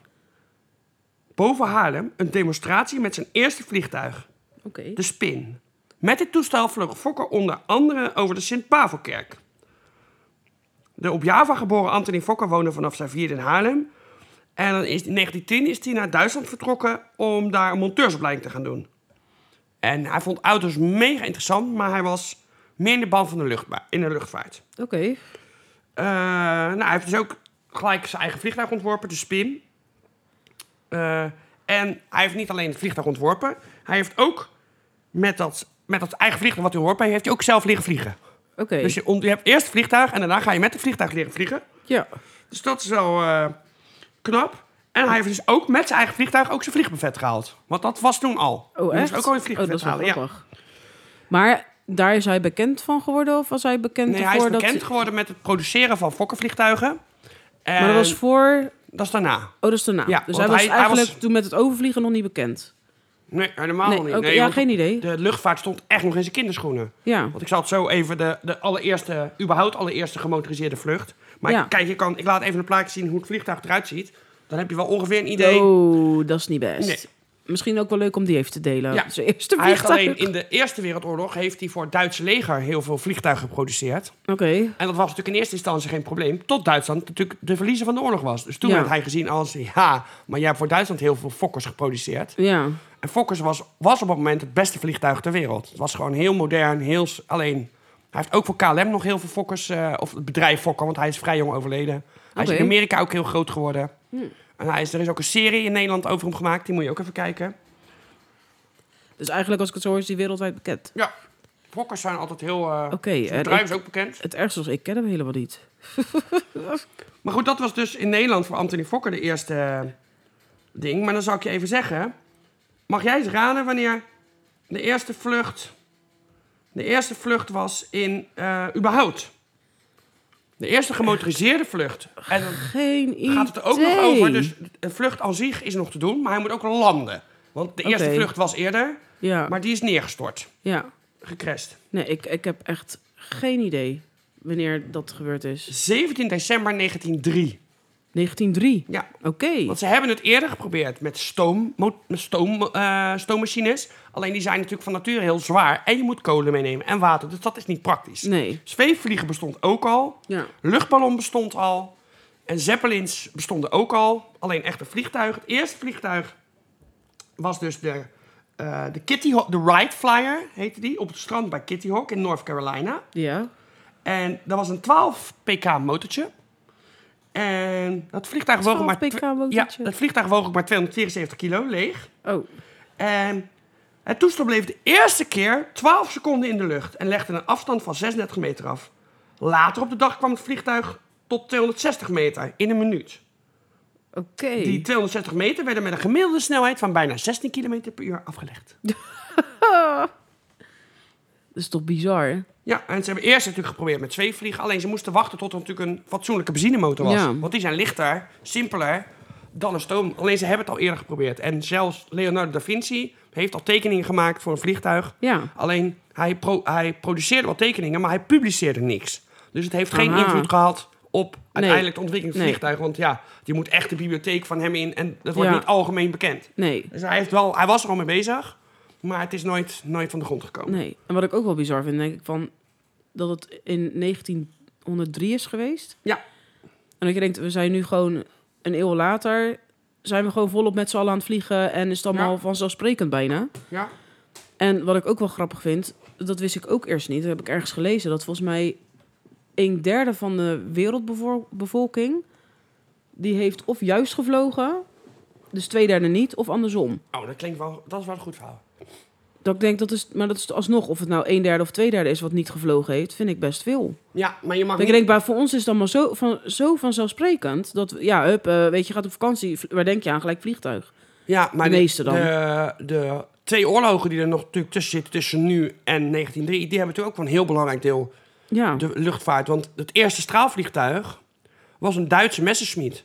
boven Haarlem een demonstratie met zijn eerste vliegtuig, Oké. de Spin. Met dit toestel vloog Fokker onder andere over de Sint-Pavelkerk. De op Java geboren Anthony Fokker woonde vanaf zijn vierde in Haarlem. En dan is, in 1910 is hij naar Duitsland vertrokken om daar een monteursopleiding te gaan doen. En hij vond auto's mega interessant, maar hij was meer in de band van de lucht, in de luchtvaart. Oké. Eh, nou, hij heeft dus ook gelijk zijn eigen vliegtuig ontworpen, de Spin. Eh, en hij heeft niet alleen het vliegtuig ontworpen, hij heeft ook met dat, met dat eigen vliegtuig wat hij ontworpen heeft, heeft hij ook zelf leren vliegen. Oké. Dus je, ont- je hebt eerst het vliegtuig en daarna ga je met het vliegtuig leren vliegen. Ja. Dus dat is wel eh, knap. En hij heeft dus ook met zijn eigen vliegtuig ook zijn vliegbuffet gehaald. Want dat was toen al. Oh, Je moest echt? ook al een oh, dat vliegbuffet is wel halen. ja. grappig. Maar daar is hij bekend van geworden? Of was hij bekend Nee, hij ervoor is bekend dat... geworden met het produceren van fokkervliegtuigen. En Maar dat was voor... dat is daarna. Oh, dat is daarna. Eh, Ja, dus want hij was hij- hij eigenlijk was- toen met het overvliegen nog niet bekend. Nee, helemaal Nee, niet. oké, nee, ja, want geen idee. De luchtvaart stond echt nog in zijn kinderschoenen. Ja. Want ik zal het zo even de, de allereerste, überhaupt allereerste gemotoriseerde vlucht. Maar Ja. kijk, je kan, ik laat even een plaatje zien hoe het vliegtuig eruit ziet. Dan heb je wel ongeveer een idee. Oh, dat is niet best. Nee. Misschien ook wel leuk om die even te delen. Ja. Zijn eerste Hij heeft vliegtuig. alleen in de Eerste Wereldoorlog heeft hij voor het Duitse leger heel veel vliegtuigen geproduceerd. Oké. En dat was natuurlijk in eerste instantie geen probleem. Tot Duitsland natuurlijk de verliezer van de oorlog was. Dus toen Ja. werd hij gezien als, ja, maar jij hebt voor Duitsland heel veel fokkers geproduceerd. Ja. En Fokkers was, was op dat moment het beste vliegtuig ter wereld. Het was gewoon heel modern, heel... s- Alleen, hij heeft ook voor KLM nog heel veel Fokkers... eh, of het bedrijf Fokker, want hij is vrij jong overleden. Hij is Oké. Hm. in Amerika ook heel groot geworden. En hij is, er is ook een serie in Nederland over hem gemaakt. Die moet je ook even kijken. Dus eigenlijk, als ik het zo hoor, is die wereldwijd bekend. Ja, Fokkers zijn altijd heel... eh Oké. het en bedrijf ik- is ook bekend. Het ergste was, ik ken hem helemaal niet. Maar goed, dat was dus in Nederland voor Anthony Fokker de eerste eh, ding. Maar dan zal ik je even zeggen... Mag jij eens raden wanneer de eerste vlucht... De eerste vlucht was in... eh überhaupt. De eerste gemotoriseerde vlucht. En dan Geen idee. gaat het er ook nog over. Dus een vlucht aan zich is nog te doen, maar hij moet ook landen. Want de eerste Oké. vlucht was eerder, Ja. maar die is neergestort. ja. Gecrashed. Nee, ik, ik heb echt geen idee wanneer dat gebeurd is. 17 december 1903. 1903. Ja, Oké. Want ze hebben het eerder geprobeerd met, stoom, mo- met stoom, eh, stoommachines. Alleen die zijn natuurlijk van nature heel zwaar. En je moet kolen meenemen en water. Dus dat is niet praktisch. Nee. Zweefvliegen bestond ook al. Ja. Luchtballon bestond al. En zeppelins bestonden ook al. Alleen echte vliegtuigen. Het eerste vliegtuig was dus de, eh, de Kitty Hawk, de Wright Flyer heette die. Op het strand bij Kitty Hawk in North Carolina. Ja. En dat was een 12 pk motortje. En dat vliegtuig woog 12 maar... pk twe- motortje. Ja, dat vliegtuig woog ook maar 274 kilo, leeg. Oh. En het toestel bleef de eerste keer 12 seconden in de lucht... en legde een afstand van 36 meter af. Later op de dag kwam het vliegtuig tot 260 meter in een minuut. Oké. Die 260 meter werden met een gemiddelde snelheid van bijna 16 km per uur afgelegd. Dat is toch bizar? Ja, en ze hebben eerst natuurlijk geprobeerd met zweefvliegen. Alleen ze moesten wachten tot er natuurlijk een fatsoenlijke benzinemotor was. Ja. Want die zijn lichter, simpeler dan een stoom. Alleen ze hebben het al eerder geprobeerd. En zelfs Leonardo da Vinci heeft al tekeningen gemaakt voor een vliegtuig. Ja. Alleen hij, pro- hij produceerde wel tekeningen, maar hij publiceerde niks. Dus het heeft geen Aha. invloed gehad op uiteindelijk de ontwikkeling van het Nee. vliegtuig. Want ja, je moet echt de bibliotheek van hem in. En dat wordt Ja. niet algemeen bekend. Nee. Dus hij, heeft wel, hij was er al mee bezig. Maar het is nooit, nooit van de grond gekomen. Nee. En wat ik ook wel bizar vind, denk ik van dat het in 1903 is geweest. Ja, En dat je denkt, we zijn nu gewoon een eeuw later, zijn we gewoon volop met z'n allen aan het vliegen en is het allemaal Ja. vanzelfsprekend bijna. ja. En wat ik ook wel grappig vind, dat wist ik ook eerst niet. Dat heb ik ergens gelezen. Dat volgens mij een derde van de wereldbevolking... die heeft of juist gevlogen, dus twee derde niet, of andersom. Oh, dat klinkt wel, dat is wel een goed verhaal. Dat ik denk, dat is, maar dat is alsnog... of het nou een derde of twee derde is wat niet gevlogen heeft... vind ik best veel. Ja, maar je mag Dat ik niet... denk, maar voor ons is het allemaal zo, van, zo vanzelfsprekend... dat, we- ja, hup, eh, weet je, je gaat op vakantie... vl- waar denk je aan? Gelijk vliegtuig. ja, maar de meeste dan. De, de twee oorlogen die er nog natuurlijk tussen zitten, tussen nu en 1903, die hebben natuurlijk ook wel een heel belangrijk deel, Ja, de luchtvaart. Want het eerste straalvliegtuig was een Duitse Messerschmitt.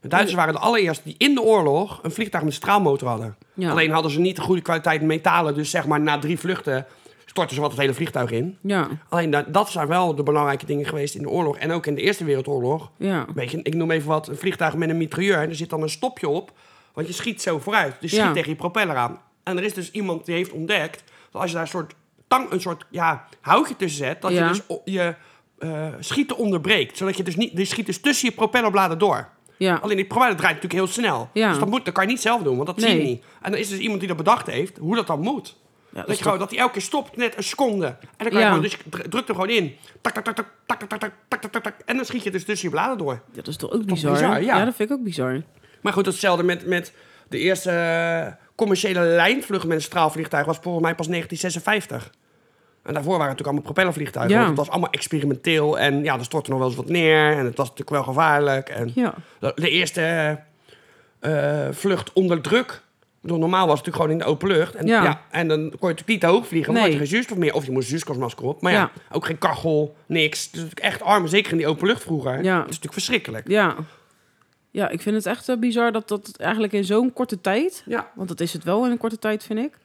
De Duitsers waren de allereerste die in de oorlog een vliegtuig met straalmotor hadden. Ja. Alleen hadden ze niet de goede kwaliteit metalen, dus zeg maar na drie vluchten stortte zowat het hele vliegtuig in. Ja, Alleen dat, dat zijn wel de belangrijke dingen geweest in de oorlog. En ook in de Eerste Wereldoorlog. ja. Weet je, ik noem even wat, een vliegtuig met een mitrailleur. En er zit dan een stopje op, want je schiet zo vooruit. Dus je Ja. schiet tegen je propeller aan. En er is dus iemand die heeft ontdekt... dat als je daar een soort, tang, een soort ja, houtje tussen zet... dat je Ja. dus o- je eh, schieten onderbreekt. Zodat je dus niet... Je schiet dus tussen je propellerbladen door. ja. Nou, Alleen die propeller draait natuurlijk heel snel. Ja. Dus dat, moet, dat kan je niet zelf doen, want dat zie je Nee. niet. En er is dus iemand die dat bedacht heeft, hoe dat dan moet. dat, is je gewoon, dat hij elke keer stopt, net een seconde. En dan kan je Ja. gewoon, dus je dr- drukt hem gewoon in. Tak, tak, tak, tak, tak, tak, tak, tak, tak, tak, tak, tak. En dan schiet je dus tussen je bladen door. Dat is toch ook Toch bizar? bizar, ja. ja. dat vind ik ook bizar. Maar goed, hetzelfde met, met de eerste eh, commerciële lijnvlucht met een straalvliegtuig was volgens mij pas 1956. En daarvoor waren het natuurlijk allemaal propellervliegtuigen. Ja. want het was allemaal experimenteel en ja, er stortte nog wel eens wat neer. En het was natuurlijk wel gevaarlijk. En Ja. de, de eerste eh, eh, vlucht onder druk. Ik bedoel, normaal was het natuurlijk gewoon in de open lucht. En, ja. Ja. en dan kon je natuurlijk niet te hoog vliegen, want dan Nee. had je geen zuurstof meer. Of je moest een zuurstofmasker op. Maar ja, Ja. ook geen kachel, niks. Dus natuurlijk echt arm, zeker in die open lucht vroeger. Dat is natuurlijk verschrikkelijk. Ja. Ja, ik vind het echt eh, bizar dat dat eigenlijk in zo'n korte tijd, Ja. want dat is het wel in een korte tijd, vind ik,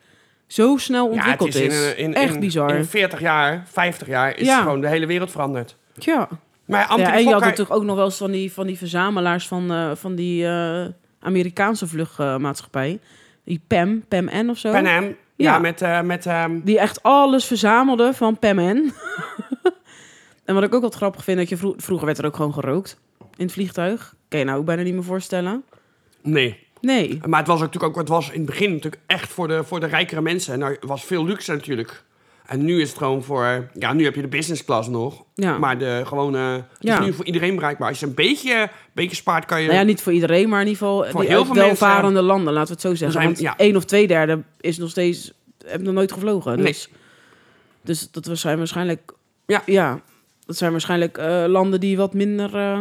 zo snel ontwikkeld in- is. in- in- echt in- bizar. In 40 jaar, 50 jaar is Ja. gewoon de hele wereld veranderd. ja. Maar Anthony ja, en je had Fokker- natuurlijk ook nog wel eens van die, van die verzamelaars van, eh, van die eh, Amerikaanse vluchtmaatschappij. Die PEM, PEM-N of zo. Pan Am, ja, Ja. met, eh, met ehm, Die echt alles verzamelde van PEM-N. en wat ik ook wat grappig vind, dat je vro- vroeger werd er ook gewoon gerookt in het vliegtuig. Kan je nou ook bijna niet meer voorstellen. nee. Nee. Maar het was natuurlijk ook, het was in het begin natuurlijk echt voor de, voor de rijkere mensen. En er was veel luxe natuurlijk. En nu is het gewoon voor, ja, nu heb je de business class nog. Ja. Maar de gewone, het Ja. is nu voor iedereen bereikbaar. Als je een beetje, beetje spaart, kan je... Nou ja, niet voor iedereen, maar in ieder geval Voor die heel uit veel welvarende landen, laten we het zo zeggen. zijn- Want ja. één of twee derde is nog steeds, hebben nog nooit gevlogen. Nee. Dus, dus dat zijn waarschijnlijk, Ja. ja, ja dat zijn waarschijnlijk eh, landen die wat minder, eh,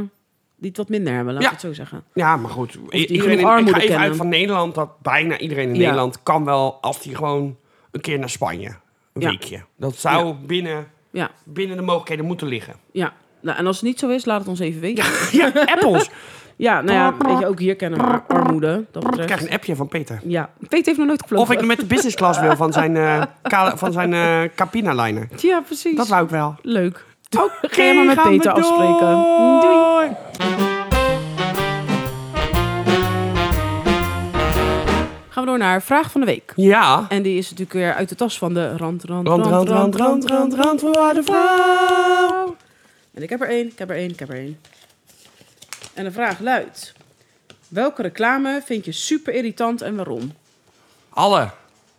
die het wat minder hebben, laten Ja. we het zo zeggen. Ja, maar goed. i- die Iedereen, genoeg in- ik armoede ga even kennen. uit van Nederland dat bijna iedereen in Ja. Nederland kan wel als die gewoon een keer naar Spanje. Een Ja. weekje. Dat zou binnen, Ja, binnen de mogelijkheden moeten liggen. ja. Nou, en als het niet zo is, laat het ons even weten. Ja, ja, apples. nou ja, weet je, ook hier kennen we armoede, dat Ik krijg betreft. een appje van Peter. Ja, Peter heeft nog nooit Of gevlogen. ik met de business class wil van zijn, eh, kale- van zijn eh, Capina liner. Ja, precies. Dat wou ik wel. Leuk. Ga je maar met Peter afspreken. Doei. Doei. Gaan we door naar vraag van de week. Ja. En die is natuurlijk weer uit de tas van de rand, rand, Rand, rand, rand, rand, rand, rand, voor de vrouw. En ik heb er één, ik heb er één, ik heb er één. En de vraag luidt... Welke reclame vind je super irritant en waarom? Alle.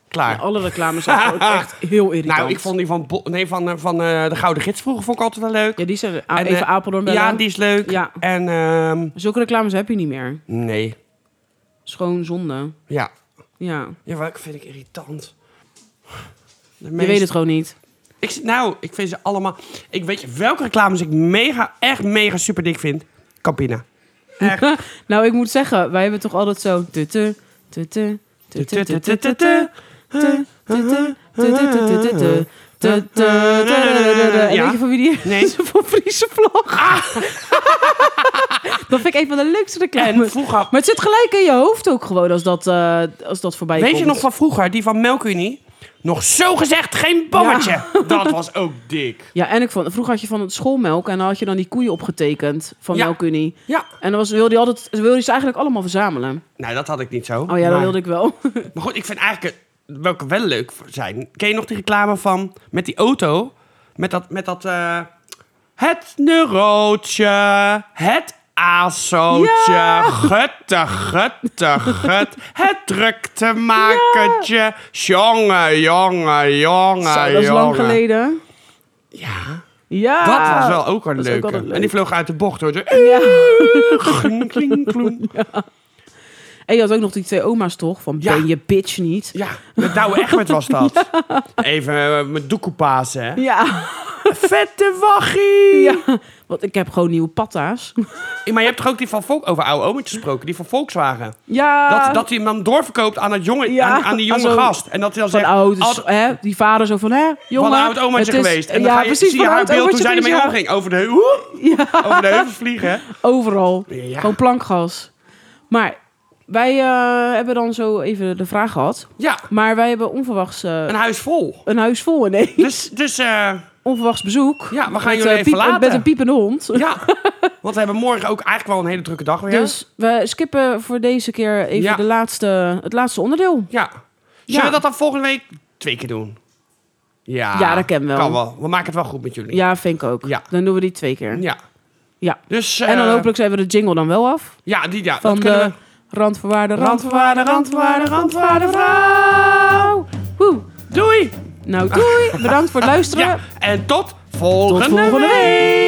Klaar. Alle reclames zijn gewoon echt heel irritant. Nou, ik vond die van, Bo- nee, van, eh, van eh, de Gouden Gids vroeger vond ik altijd wel leuk. Ja, die zijn... ah, En, even eh, Apeldoorn bellen. Ja, die is leuk. Ja. En ehm, Zulke reclames heb je niet meer. nee. Schoon zonde. Ja. Ja. Ja, welke vind ik irritant? De Je weet het gewoon niet. Ik, zit- nou, ik vind ze allemaal... Ik weet je welke reclames ik mega, echt mega super dik vind? Campina. Echt. nou, ik moet zeggen, wij hebben toch altijd zo... tutu, tutu, tutu, tutu, tutu, tutu, tutu, tutu, tutu, tutu, tutu, tutu, En Ja. weet je van wie die is? Nee. Ah. Van Friese Vlag. Dat vind ik een van de leukste En reclames. vroeger... Maar het zit gelijk in je hoofd ook gewoon als dat, eh, als dat voorbij Weet komt. je nog van vroeger? Die van Melkunie? Nog zo gezegd geen bommetje. Dat was ook dik. Ja, en ik vond, vroeger had je van het schoolmelk en dan had je dan die koeien opgetekend van Ja. Melkunie. Ja. En dan was, wilde, hij altijd, wilde hij ze eigenlijk allemaal verzamelen. Nou, dat had ik niet zo. Oh ja, dat Maar- wilde ik wel. Maar goed, ik vind eigenlijk het- welke wel leuk zijn. Ken je nog die reclame van met die auto? Met dat. Met dat eh, het neurootje. Het asootje. Ja! Gutte, gutte, gut. Het druktemakertje. Jongen, jongen, jongen, Zo, dat is lang jongen. geleden. Ja, Ja. dat was wel ook een Ah, dat is ook leuke. wel een En die leuk. vloog uit de bocht hoor. Zo, Ja. kling, kling, kloem. En je had ook nog die twee oma's toch? Van Ja. ben je bitch niet? Ja, met Douwe Egmert was dat. Even eh, met doekoe Pasen, hè. Ja. Vette wachie! ja. Want ik heb gewoon nieuwe patta's. Ja, Maar je hebt toch ook die van Volk over oude omertjes gesproken, die van Volkswagen. Ja. Dat, dat hij hem dan doorverkoopt aan, het jonge, Ah. Ja, aan, aan die jonge aan zo'n- gast. En dat hij dan van zegt, oud, "Ad- dus, hè, die vader zo van, hè, jongen. van een oud omertje het is- geweest. En ja, dan ga je, precies, zie je van haar oud beeld toen omertje zij ermee geweest, omging. Over de, hoe- ja. over de heuvels vliegen. Overal. Ja. Gewoon plankgas. Maar Wij eh, hebben dan zo even de vraag gehad. Ja, Maar wij hebben onverwachts eh, een huis vol. een huis vol ineens. Dus, dus eh, Onverwachts bezoek. ja, we gaan Met, jullie eh, even piep- laten. Met een piepende hond. Ja, want we hebben morgen ook eigenlijk wel een hele drukke dag weer. Dus we skippen voor deze keer even Ja. de laatste, het laatste onderdeel. Ja. Zullen Ja. we dat dan volgende week twee keer doen? Ja, Ja, dat kan wel. Kan wel. We maken het wel goed met jullie. Ja, vind ik ook. Ja. Dan doen we die twee keer. Ja. Ja. Dus, En dan eh, hopelijk zijn we de jingle dan wel af. Ja, die, ja Van dat kunnen de randvoorwaarde, we. randvoorwaarde, randvoorwaarde, randvoorwaarde, vrouw. Woe. Doei! Nou, doei. Bedankt voor het luisteren. Ja, en tot Tot volgende, volgende week.